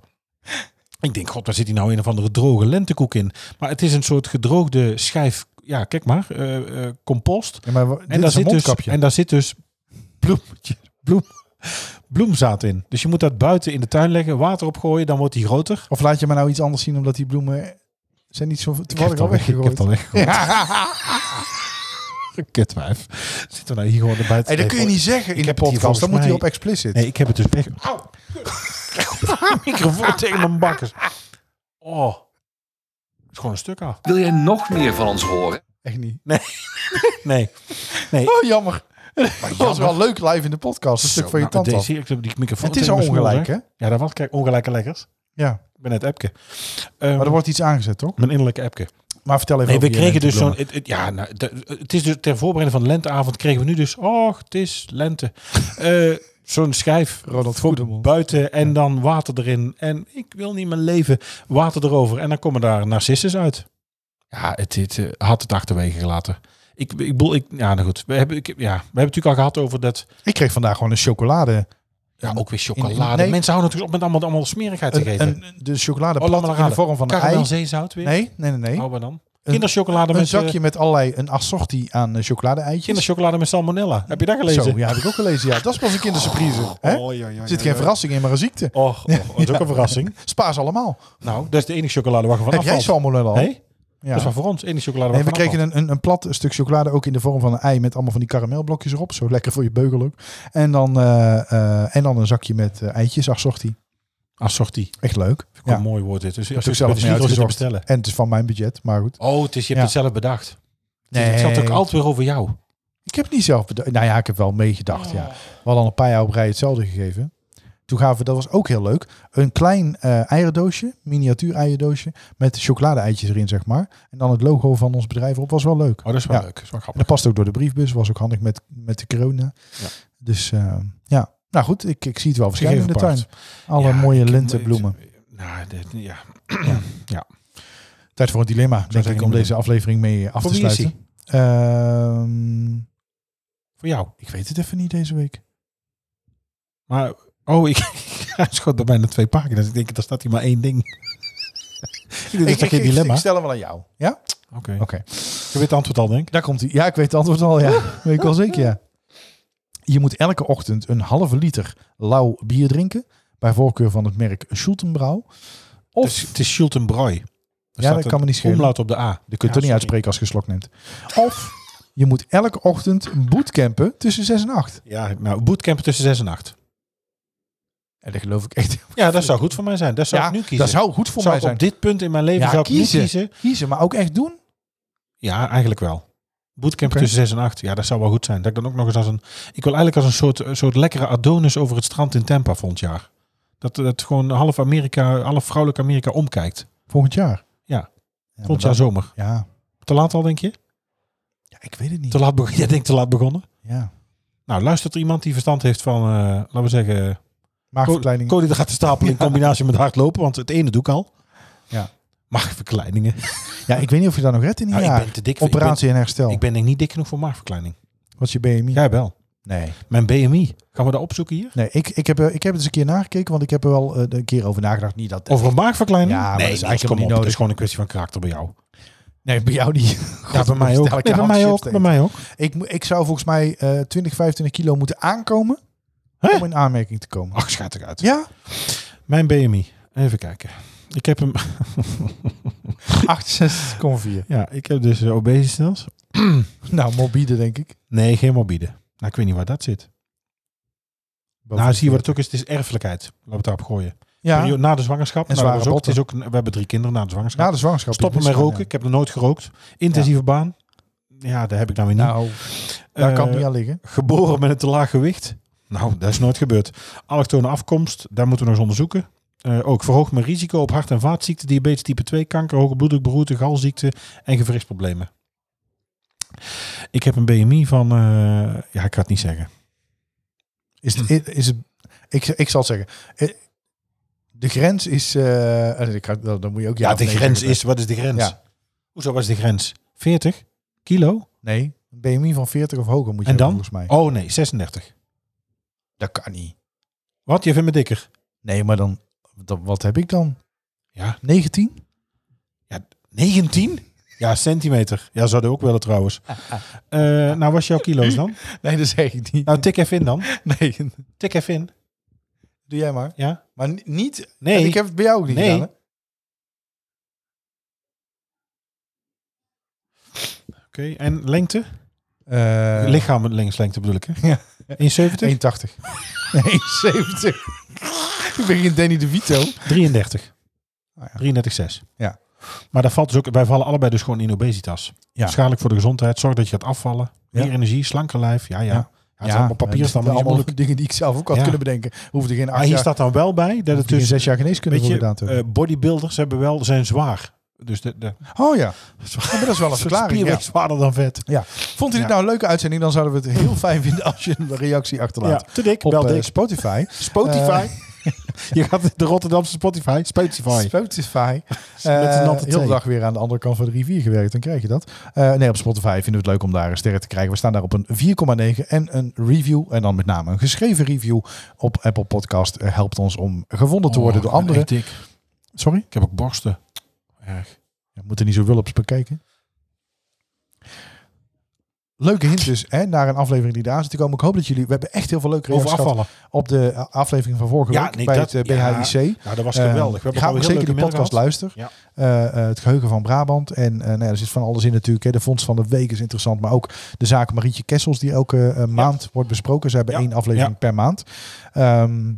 S2: Ik denk, god, waar zit hier nou een of andere droge lentekoek in? Maar het is een soort gedroogde schijf... Ja, kijk maar. eh, eh, compost.
S3: Ja, maar wa- dit
S2: En daar,
S3: is een
S2: zit dus,
S3: mondkapje.
S2: en daar zit dus bloemetje, bloem, bloemzaad in. Dus je moet dat buiten in de tuin leggen, water opgooien, dan wordt die groter.
S3: Of laat je me nou iets anders zien omdat die bloemen zijn niet zo...
S2: Ik
S3: Toen
S2: heb
S3: had ik
S2: het
S3: al
S2: al weg- ik heb
S3: weggegooid.
S2: het al weggegooid. Kutwijf. Zitten we nou hier gewoon erbij te
S3: Hey, dat kun je
S2: lepelen?
S3: niet zeggen in
S2: heb
S3: de
S2: het hier
S3: podcast. Dan
S2: volgens
S3: moet hij
S2: mij-
S3: op explicit.
S2: Nee, ik heb het dus weg. Au! Microfoon tegen mijn bakkers. Oh. Het is gewoon een stuk af.
S1: Wil jij nog meer van ons horen?
S3: Echt niet.
S2: Nee.
S3: Oh, jammer. Dat was wel leuk live in de podcast. Een stuk
S2: Zo,
S3: van je
S2: nou,
S3: tand af.
S2: deze- ik heb die microfoon
S3: Het is
S2: tegen
S3: al
S2: mijn snor,
S3: ongelijk,
S2: zeg.
S3: hè?
S2: Ja, dat was kijk, ongelijke lekkers.
S3: Ja.
S2: Ik ben net Epke. Ehm,
S3: Maar er wordt iets aangezet, toch?
S2: Mijn innerlijke Epke.
S3: Maar vertel even
S2: Nee, we
S3: over je
S2: kregen dus zo'n.
S3: lentebloemen.
S2: Het, het- ja, nou, de- het is dus ter voorbereiding van de lenteavond kregen we nu dus. Och, het is lente. Eh, zo'n schijf
S3: Ronald
S2: voor
S3: Goedemond.
S2: buiten en dan water erin. En ik wil niet mijn leven water erover. En dan komen daar narcissus uit. Ja, het, het eh, had het achterwege gelaten. Ik, ik bedoel, ik, ja, nou goed. We hebben, ik, ja, we hebben het natuurlijk al gehad over dat.
S3: Ik kreeg vandaag gewoon een chocolade.
S2: Ja, ook weer
S3: in-
S2: chocolade.
S3: nee.
S2: Mensen houden natuurlijk op met allemaal, allemaal smerigheid te
S3: Een,
S2: geven.
S3: een, de chocolade
S2: Oh, laat maar
S3: plat in de
S2: raden.
S3: vorm van een
S2: Karamel
S3: ei.
S2: zeezout weer.
S3: Nee, nee, nee. nee.
S2: Oh, wat dan?
S3: Een-
S2: Kinderchocolade
S3: Een
S2: met eh,
S3: zakje met allerlei een assortie aan eh, chocolade-eitjes.
S2: Kinderchocolade met salmonella. Heb je dat gelezen?
S3: Zo, ja, heb ik ook gelezen. Ja, dat was een kindersurprise. hè?
S2: Oh, ja, ja,
S3: Er zit
S2: ja,
S3: geen
S2: ja.
S3: verrassing in, maar een ziekte.
S2: Och, och, dat is ook een verrassing.
S3: Spaar ze allemaal.
S2: Nou, dat is de enige chocolade waar je van
S3: Heb jij
S2: afvalt.
S3: salmonella al?
S2: Nee,
S3: Ja.
S2: dat is wel voor ons. Enige chocolade waar je
S3: Nee, we
S2: van
S3: kregen een, een, een plat stuk chocolade ook in de vorm van een ei met allemaal van die karamelblokjes erop. Zo lekker voor je beugel ook. En dan, eh, eh, en dan een zakje met eh, eitjes, assortie.
S2: afvalt. Assortie.
S3: Echt leuk.
S2: Ja.
S3: Ja.
S2: Een mooi woord dit. Dus
S3: Dat
S2: als
S3: is ook
S2: je het bij
S3: zelf
S2: de spiegel
S3: mee
S2: zit te
S3: uitgezocht.
S2: bestellen.
S3: En het is van mijn budget, maar goed.
S2: Oh, het is, je hebt
S3: Ja.
S2: het zelf bedacht. Nee. Dus Oh, Het zat ook altijd weer over jou.
S3: Ik heb het niet zelf bedacht. Nou ja, ik heb wel meegedacht,
S2: Oh.
S3: ja. We hadden al een paar jaar op rij hetzelfde gegeven. Toen gaven we, dat was ook heel leuk, een klein eh eierdoosje, miniatuur eierdoosje, met chocolade-eitjes erin, zeg maar. En dan het logo van ons bedrijf op, was wel leuk.
S2: Oh, dat is wel
S3: Ja.
S2: leuk. Dat is wel
S3: En
S2: grappig.
S3: dat past ook door de briefbus, was ook handig met, met de corona.
S2: Ja.
S3: Dus eh, ja, nou goed, ik, ik zie het wel verschijnen in de
S2: Gegeven
S3: tuin.
S2: paard.
S3: Alle
S2: Ja,
S3: mooie
S2: ik-
S3: lentebloemen.
S2: Nou, dit, ja.
S3: Tijd voor een dilemma, denk
S2: zou ik
S3: ik,
S2: niet
S3: om deze aflevering mee eh, af
S2: Voor
S3: te
S2: wie is
S3: sluiten. Ehm,
S2: Voor jou.
S3: ik weet het even niet deze week.
S2: Maar, oh, ik hij schoot bij bijna twee pagina's. Ik denk, daar staat hier maar één ding. ik denk, dat is toch geen dilemma.
S3: ik
S2: Oké.
S3: stel hem wel aan jou. Ja? Oké.
S2: Je weet het antwoord al, denk ik.
S3: Daar komt hij. Ja, ik weet het antwoord al. Ja, weet ik wel zeker. Ja. Je moet elke ochtend een halve liter lauw bier drinken. Bij voorkeur van het merk Schultenbrouw. Of,
S2: Het is, het is Schultenbrooi. Er
S3: ja,
S2: staat
S3: dat
S2: een
S3: kan me niet schelen.
S2: Omlaut op de A.
S3: Je kunt het niet
S2: sorry.
S3: uitspreken als je geslokt neemt. Of je moet elke ochtend bootcampen tussen 6 en 8.
S2: Ja, nou, bootcamp tussen 6 en 8.
S3: En dat geloof ik echt.
S2: Ja, dat zou goed voor mij zijn. Dat zou
S3: ja,
S2: ik nu kiezen.
S3: dat zou goed voor
S2: Zou
S3: mij
S2: ik
S3: zijn.
S2: op dit punt in mijn leven
S3: Ja,
S2: zou ik
S3: kiezen.
S2: nu kiezen?
S3: Kiezen, maar ook echt doen.
S2: Ja, eigenlijk wel. Bootcamp
S3: Oké.
S2: tussen 6 en 8. Ja, dat zou wel goed zijn. Dat ik dan ook nog eens als een... Ik wil eigenlijk als een soort, een soort lekkere Adonis over het strand in Tampa volgend jaar. Dat, dat gewoon half Amerika, half vrouwelijk Amerika omkijkt.
S3: Volgend jaar.
S2: Ja.
S3: ja
S2: Volgend
S3: maar
S2: jaar
S3: dan-
S2: zomer.
S3: Ja.
S2: Te laat al, denk je?
S3: ja, ik weet het niet.
S2: Te laat begonnen. Jij denkt te laat begonnen?
S3: Ja.
S2: Nou, luistert er iemand die verstand heeft van, eh, laten we zeggen,
S3: Maagverkleining.
S2: koolhydratenstapelen in combinatie met hardlopen? Want het ene doe ik al.
S3: Ja.
S2: Maagverkleiningen.
S3: Ja, ik weet niet of je dat nog redt in een
S2: Nou,
S3: jaar.
S2: ik ben te dik. voor-
S3: Operatie en herstel.
S2: Ik ben, ik ben denk ik niet dik genoeg voor maagverkleining.
S3: Wat is je BMI?
S2: Jij wel.
S3: Nee.
S2: Mijn BMI. Gaan we dat opzoeken hier?
S3: Nee, ik, ik, heb, eh, ik heb het eens een keer nagekeken, want ik heb er wel eh, een keer over nagedacht. Niet dat.
S2: Over een maagverkleining?
S3: Ja, maar dat is
S2: Niels,
S3: eigenlijk
S2: kom
S3: niet
S2: op,
S3: nodig.
S2: Het is gewoon een kwestie van karakter bij jou.
S3: Nee, bij jou niet.
S2: ja, bij mij ook. Nee, bij mij ook. Bij mij ook.
S3: Ik, mo- ik zou volgens mij eh 20, 25 kilo moeten aankomen
S2: Hè?
S3: om in aanmerking te komen.
S2: Ach, schat ik uit.
S3: Ja,
S2: Mijn BMI. Even kijken. Ik heb hem.
S3: 68,4.
S2: Ja, ik heb dus eh, obesitas.
S3: Nou, morbide denk ik.
S2: Nee, geen morbide. Nou, ik weet niet waar dat zit. nou, zie je wat het ook is? Het is erfelijkheid. Laten we het daarop gooien. Perio-
S3: Ja,
S2: na de zwangerschap.
S3: En
S2: nou, dat
S3: zware Nou,
S2: was ook, het is ook, we hebben drie kinderen na de zwangerschap.
S3: na de zwangerschap.
S2: Stoppen met
S3: Misgaan,
S2: roken.
S3: ja.
S2: Ik heb nog nooit gerookt. Intensieve baan. Ja, daar heb ik dan weer niet.
S3: Nou, daar
S2: Eh,
S3: kan het niet aan liggen.
S2: Geboren met een te laag gewicht? Nou, dat is nooit gebeurd. Allochtone afkomst, daar moeten we nog eens onderzoeken. Eh, ook verhoogt mijn risico op hart- en vaatziekten, diabetes type 2, kanker, hoge bloeddrukberoerte, galziekte en gewrichtsproblemen. Ik heb een BMI van, eh, ja, ik ga het niet zeggen.
S3: Is
S2: hm.
S3: het, is het, ik, ik zal het zeggen. Eh, De grens is... eh, eh, ik ga- dan dan moet je ook...
S2: Ja,
S3: of
S2: de
S3: nee
S2: grens
S3: zeggen.
S2: is, wat is de grens?
S3: Ja.
S2: Hoezo, wat is de grens? 40 kilo?
S3: Nee, een BMI van 40 of hoger moet je
S2: En
S3: hebben,
S2: dan?
S3: volgens mij.
S2: Oh nee, 36.
S3: Dat kan niet.
S2: Wat, je vindt me dikker?
S3: Nee, maar dan, dan... Wat heb ik dan?
S2: Ja.
S3: 19?
S2: 19? Ja, centimeter. Ja, zouden ook willen trouwens.
S3: Ah,
S2: Eh, nou, was jouw kilo's dan?
S3: Nee, dat zeg ik niet.
S2: Nou, tik even in dan.
S3: Nee,
S2: Tik even in.
S3: doe jij maar.
S2: Ja?
S3: Maar ni- niet...
S2: Nee.
S3: Ik heb het bij jou ook niet
S2: Nee.
S3: gedaan, hè?
S2: Oké, en lengte?
S3: Eh,
S2: Lichaam met levenslengte bedoel ik, hè?
S3: Ja.
S2: 71?
S3: 1,80. Nee, 70. ik ben geen Danny DeVito.
S2: 33.
S3: Ah,
S2: 33,6.
S3: Ja.
S2: Maar dat valt dus ook, wij vallen allebei dus gewoon in obesitas.
S3: Ja.
S2: Schadelijk voor de gezondheid. Zorg dat je gaat afvallen.
S3: Ja.
S2: Meer energie, slanker lijf. Ja, ja.
S3: Ja.
S2: ja. het is allemaal papier, is
S3: dat
S2: allemaal niet
S3: allemaal
S2: moeilijk.
S3: dingen die ik zelf ook had
S2: Ja.
S3: kunnen bedenken. Hoefde geen
S2: Maar
S3: acht
S2: hier
S3: jaar,
S2: staat dan wel bij dat het
S3: hoefde geen
S2: dus,
S3: zes jaar geneeskunde
S2: weet
S3: voor
S2: je,
S3: gedaan te hebben.
S2: eh, bodybuilders hebben wel, zijn zwaar. Dus de, de,
S3: oh ja. Ja, maar dat is wel een
S2: soort
S3: verklaring.
S2: spier
S3: Ja.
S2: is zwaarder dan vet.
S3: Ja. Vond u dit
S2: Ja.
S3: nou een leuke uitzending? Dan zouden we het heel fijn vinden als je een reactie
S2: Ja,
S3: achterlaat.
S2: te dik,
S3: Op
S2: wel
S3: eh,
S2: dik.
S3: Spotify.
S2: Spotify. Eh, je gaat de Rotterdamse Spotify. Spotify.
S3: Spotify.
S2: Met een natte
S3: Eh, heel de
S2: thee.
S3: dag weer aan de andere kant van de rivier gewerkt. Dan krijg je dat. Eh, nee, op Spotify vinden we het leuk om daar een sterren te krijgen. We staan daar op een 4,9 en een review. En dan met name een geschreven review op Apple Podcast. eh, helpt ons om gevonden te worden
S2: Oh,
S3: door
S2: ik ben
S3: anderen.
S2: echt dik.
S3: Sorry?
S2: Ik heb ook borsten. Erg.
S3: We moeten niet zo wulps bekijken. Leuke hint dus hè, naar een aflevering die eraan zit te komen. Ik hoop dat jullie... We hebben echt heel veel leuke
S2: Over
S3: reacties gehad
S2: afvallen.
S3: op de eh, aflevering van vorige
S2: Ja,
S3: week
S2: nee,
S3: bij
S2: dat-
S3: het eh,
S2: ja.
S3: BHIC.
S2: Nou, dat was
S3: Eh,
S2: geweldig. We hebben
S3: ga
S2: gewoon
S3: ook
S2: heel
S3: zeker
S2: leuke
S3: die
S2: middag
S3: podcast
S2: gehad.
S3: luisteren. Eh, eh, het geheugen van Brabant. En eh, nou ja, er zit van alles in natuurlijk. Hè. De Fonds van de Week is interessant. Maar ook de zaak Marietje Kessels die elke eh, maand wordt besproken. Ze hebben
S2: Ja.
S3: één aflevering
S2: Ja.
S3: per maand. Ehm,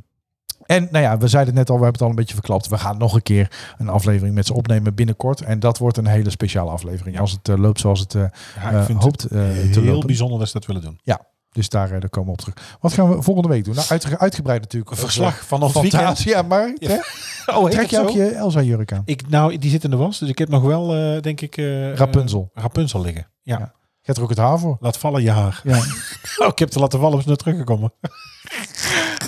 S3: en nou ja, we zeiden het net al, we hebben het al een beetje verklapt. We gaan nog een keer een aflevering met ze opnemen binnenkort. En dat wordt een hele speciale aflevering.
S2: Ja.
S3: Als het eh, loopt zoals het eh,
S2: Ja, ik
S3: eh,
S2: vind
S3: hoopt eh,
S2: het
S3: te
S2: heel
S3: lopen.
S2: bijzonder dat ze dat willen doen.
S3: Dus daar, eh, daar komen we op terug. Wat gaan we volgende week doen? Nou, uitge- uitgebreid natuurlijk.
S2: Een verslag van ons
S3: Over-
S2: weekend.
S3: Ja, maar
S2: Ja.
S3: hè?
S2: Oh, heet
S3: trek
S2: het
S3: je ook
S2: zo?
S3: je Elsa-jurk aan.
S2: Ik, nou, die zit in de was, dus ik heb nog wel, eh, denk ik... eh,
S3: Rapunzel.
S2: eh, Rapunzel liggen. Ja.
S3: Ja. Gaat er ook het haar voor?
S2: Laat vallen je haar.
S3: Ja.
S2: Oh, ik heb te laten vallen om ze naar teruggekomen.